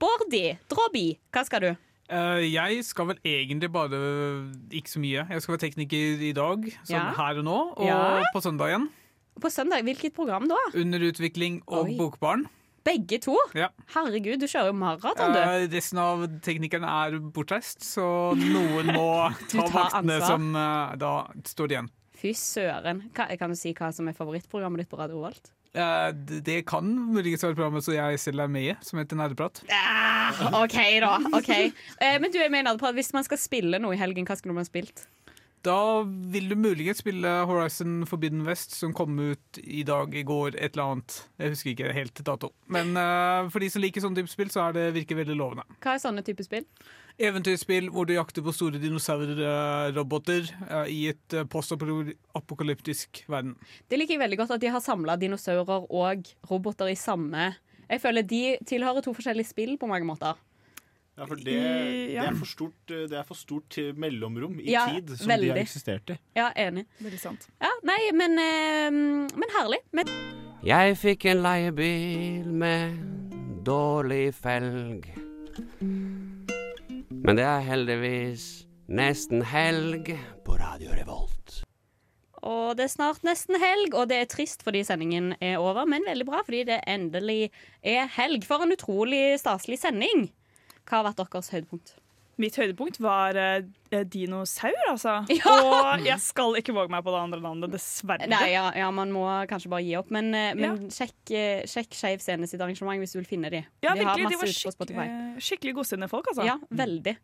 Speaker 8: Bordi, Drobby, hva skal du?
Speaker 22: Eh, jeg skal vel egentlig bare ikke så mye. Jeg skal være tekniker i dag, sånn
Speaker 8: Ja.
Speaker 22: her og nå, og
Speaker 8: Ja.
Speaker 22: på søndag igjen.
Speaker 8: På søndag, hvilket program da?
Speaker 22: Under utvikling og
Speaker 8: Oi.
Speaker 22: Bokbarn.
Speaker 8: Begge to?
Speaker 22: Ja.
Speaker 8: Herregud, du kjører jo maraton, du.
Speaker 22: Eh, resten av teknikerne er bortreist, så noen må
Speaker 8: Du
Speaker 22: ta
Speaker 8: tar
Speaker 22: vaktene
Speaker 8: ansvar.
Speaker 22: som eh, da står igjen.
Speaker 8: Fy søren. Hva, kan du si hva som er favorittprogrammet ditt på Radio Volt?
Speaker 22: Eh, d- det kan muligens være programmet som jeg selv er med i, som heter Nerdeprat. Ah.
Speaker 8: OK, da. ok. Eh, men du, jeg mener, på at hvis man skal spille noe i helgen, hva skulle man spilt?
Speaker 22: Da vil du muligens spille Horizon Forbidden West, som kom ut i dag, i går, et eller annet. Jeg husker ikke helt dato. Men eh, for de som liker sånne type spill, så er det virker veldig lovende.
Speaker 8: Hva er sånne type spill?
Speaker 22: Eventyrspill hvor du jakter på store dinosaurroboter eh, i et eh, postapokalyptisk verden.
Speaker 8: Det liker jeg veldig godt at de har samla dinosaurer og roboter i samme Jeg føler de tilhører to forskjellige spill på mange måter.
Speaker 6: Ja, for det,
Speaker 8: I- ja.
Speaker 6: det, er for stort, det er for stort til mellomrom i
Speaker 8: Ja,
Speaker 6: tid som de
Speaker 8: veldig.
Speaker 6: har eksistert i.
Speaker 8: Ja, enig.
Speaker 9: Veldig sant.
Speaker 8: Ja, nei, men, eh, men herlig. Men
Speaker 12: Jeg fikk en leiebil med dårlig felg. Men det er heldigvis nesten helg på Radio Revolt.
Speaker 8: Og det er snart nesten helg, og det er trist fordi sendingen er over, men veldig bra fordi det endelig er helg. For en utrolig staselig sending. Hva har vært deres høydepunkt?
Speaker 9: Mitt høydepunkt var eh, dinosaur, altså.
Speaker 8: Ja!
Speaker 9: Og jeg skal ikke våge meg på det andre navnet, dessverre.
Speaker 8: Nei, ja, ja, man må kanskje bare gi opp, men, eh, men sjekk, eh, sjekk Skeiv Scene sitt arrangement hvis du vil finne de.
Speaker 9: Ja,
Speaker 8: de har
Speaker 9: virkelig, de
Speaker 8: masse
Speaker 9: var
Speaker 8: ute på Spotify.
Speaker 9: skikk- eh, skikkelig godsinnede folk, altså.
Speaker 8: Ja, veldig.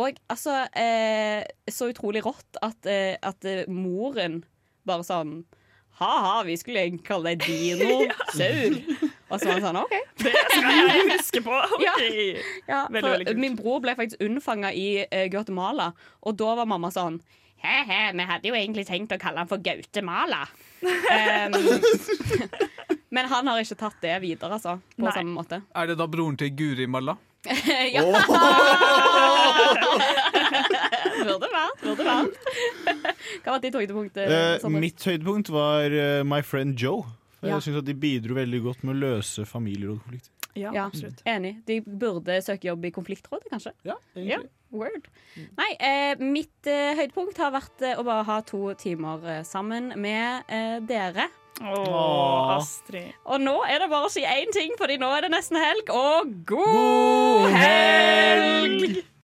Speaker 8: Og altså, eh, så utrolig rått at, eh, at eh, moren bare sånn Ha-ha, vi skulle egentlig kalle deg dinosaur. Og så var han sånn OK.
Speaker 9: Det skal jeg huske på. Ok.
Speaker 8: Ja,
Speaker 9: Veldig,
Speaker 8: for
Speaker 9: veldig kult.
Speaker 8: Min bror ble faktisk unnfanga i eh, Guatemala, og da var mamma sånn He-he, vi hadde jo egentlig tenkt å kalle han for Gautemala. Em, men han har ikke tatt det videre, altså. På
Speaker 22: Nei.
Speaker 8: samme måte.
Speaker 22: Er det da broren til Guri Malla?
Speaker 8: ja. burde vært, burde vært. Hva var ditt høydepunkt? eh,
Speaker 6: Eh,
Speaker 8: Sondre?
Speaker 6: mitt høydepunkt var eh, My Friend Joe. For
Speaker 8: Ja.
Speaker 6: Jeg syns de bidro veldig godt med å løse familier og konflikter.
Speaker 8: Ja, Mm. Enig. De burde søke jobb i konfliktrådet, kanskje.
Speaker 6: Ja,
Speaker 8: egentlig. Word. Nei, eh, mitt eh, høydepunkt har vært eh, å bare ha to timer eh, sammen med eh, dere.
Speaker 9: Åh, Astrid.
Speaker 8: Og nå er det bare å si én ting, fordi nå er det nesten helg, og god, helg!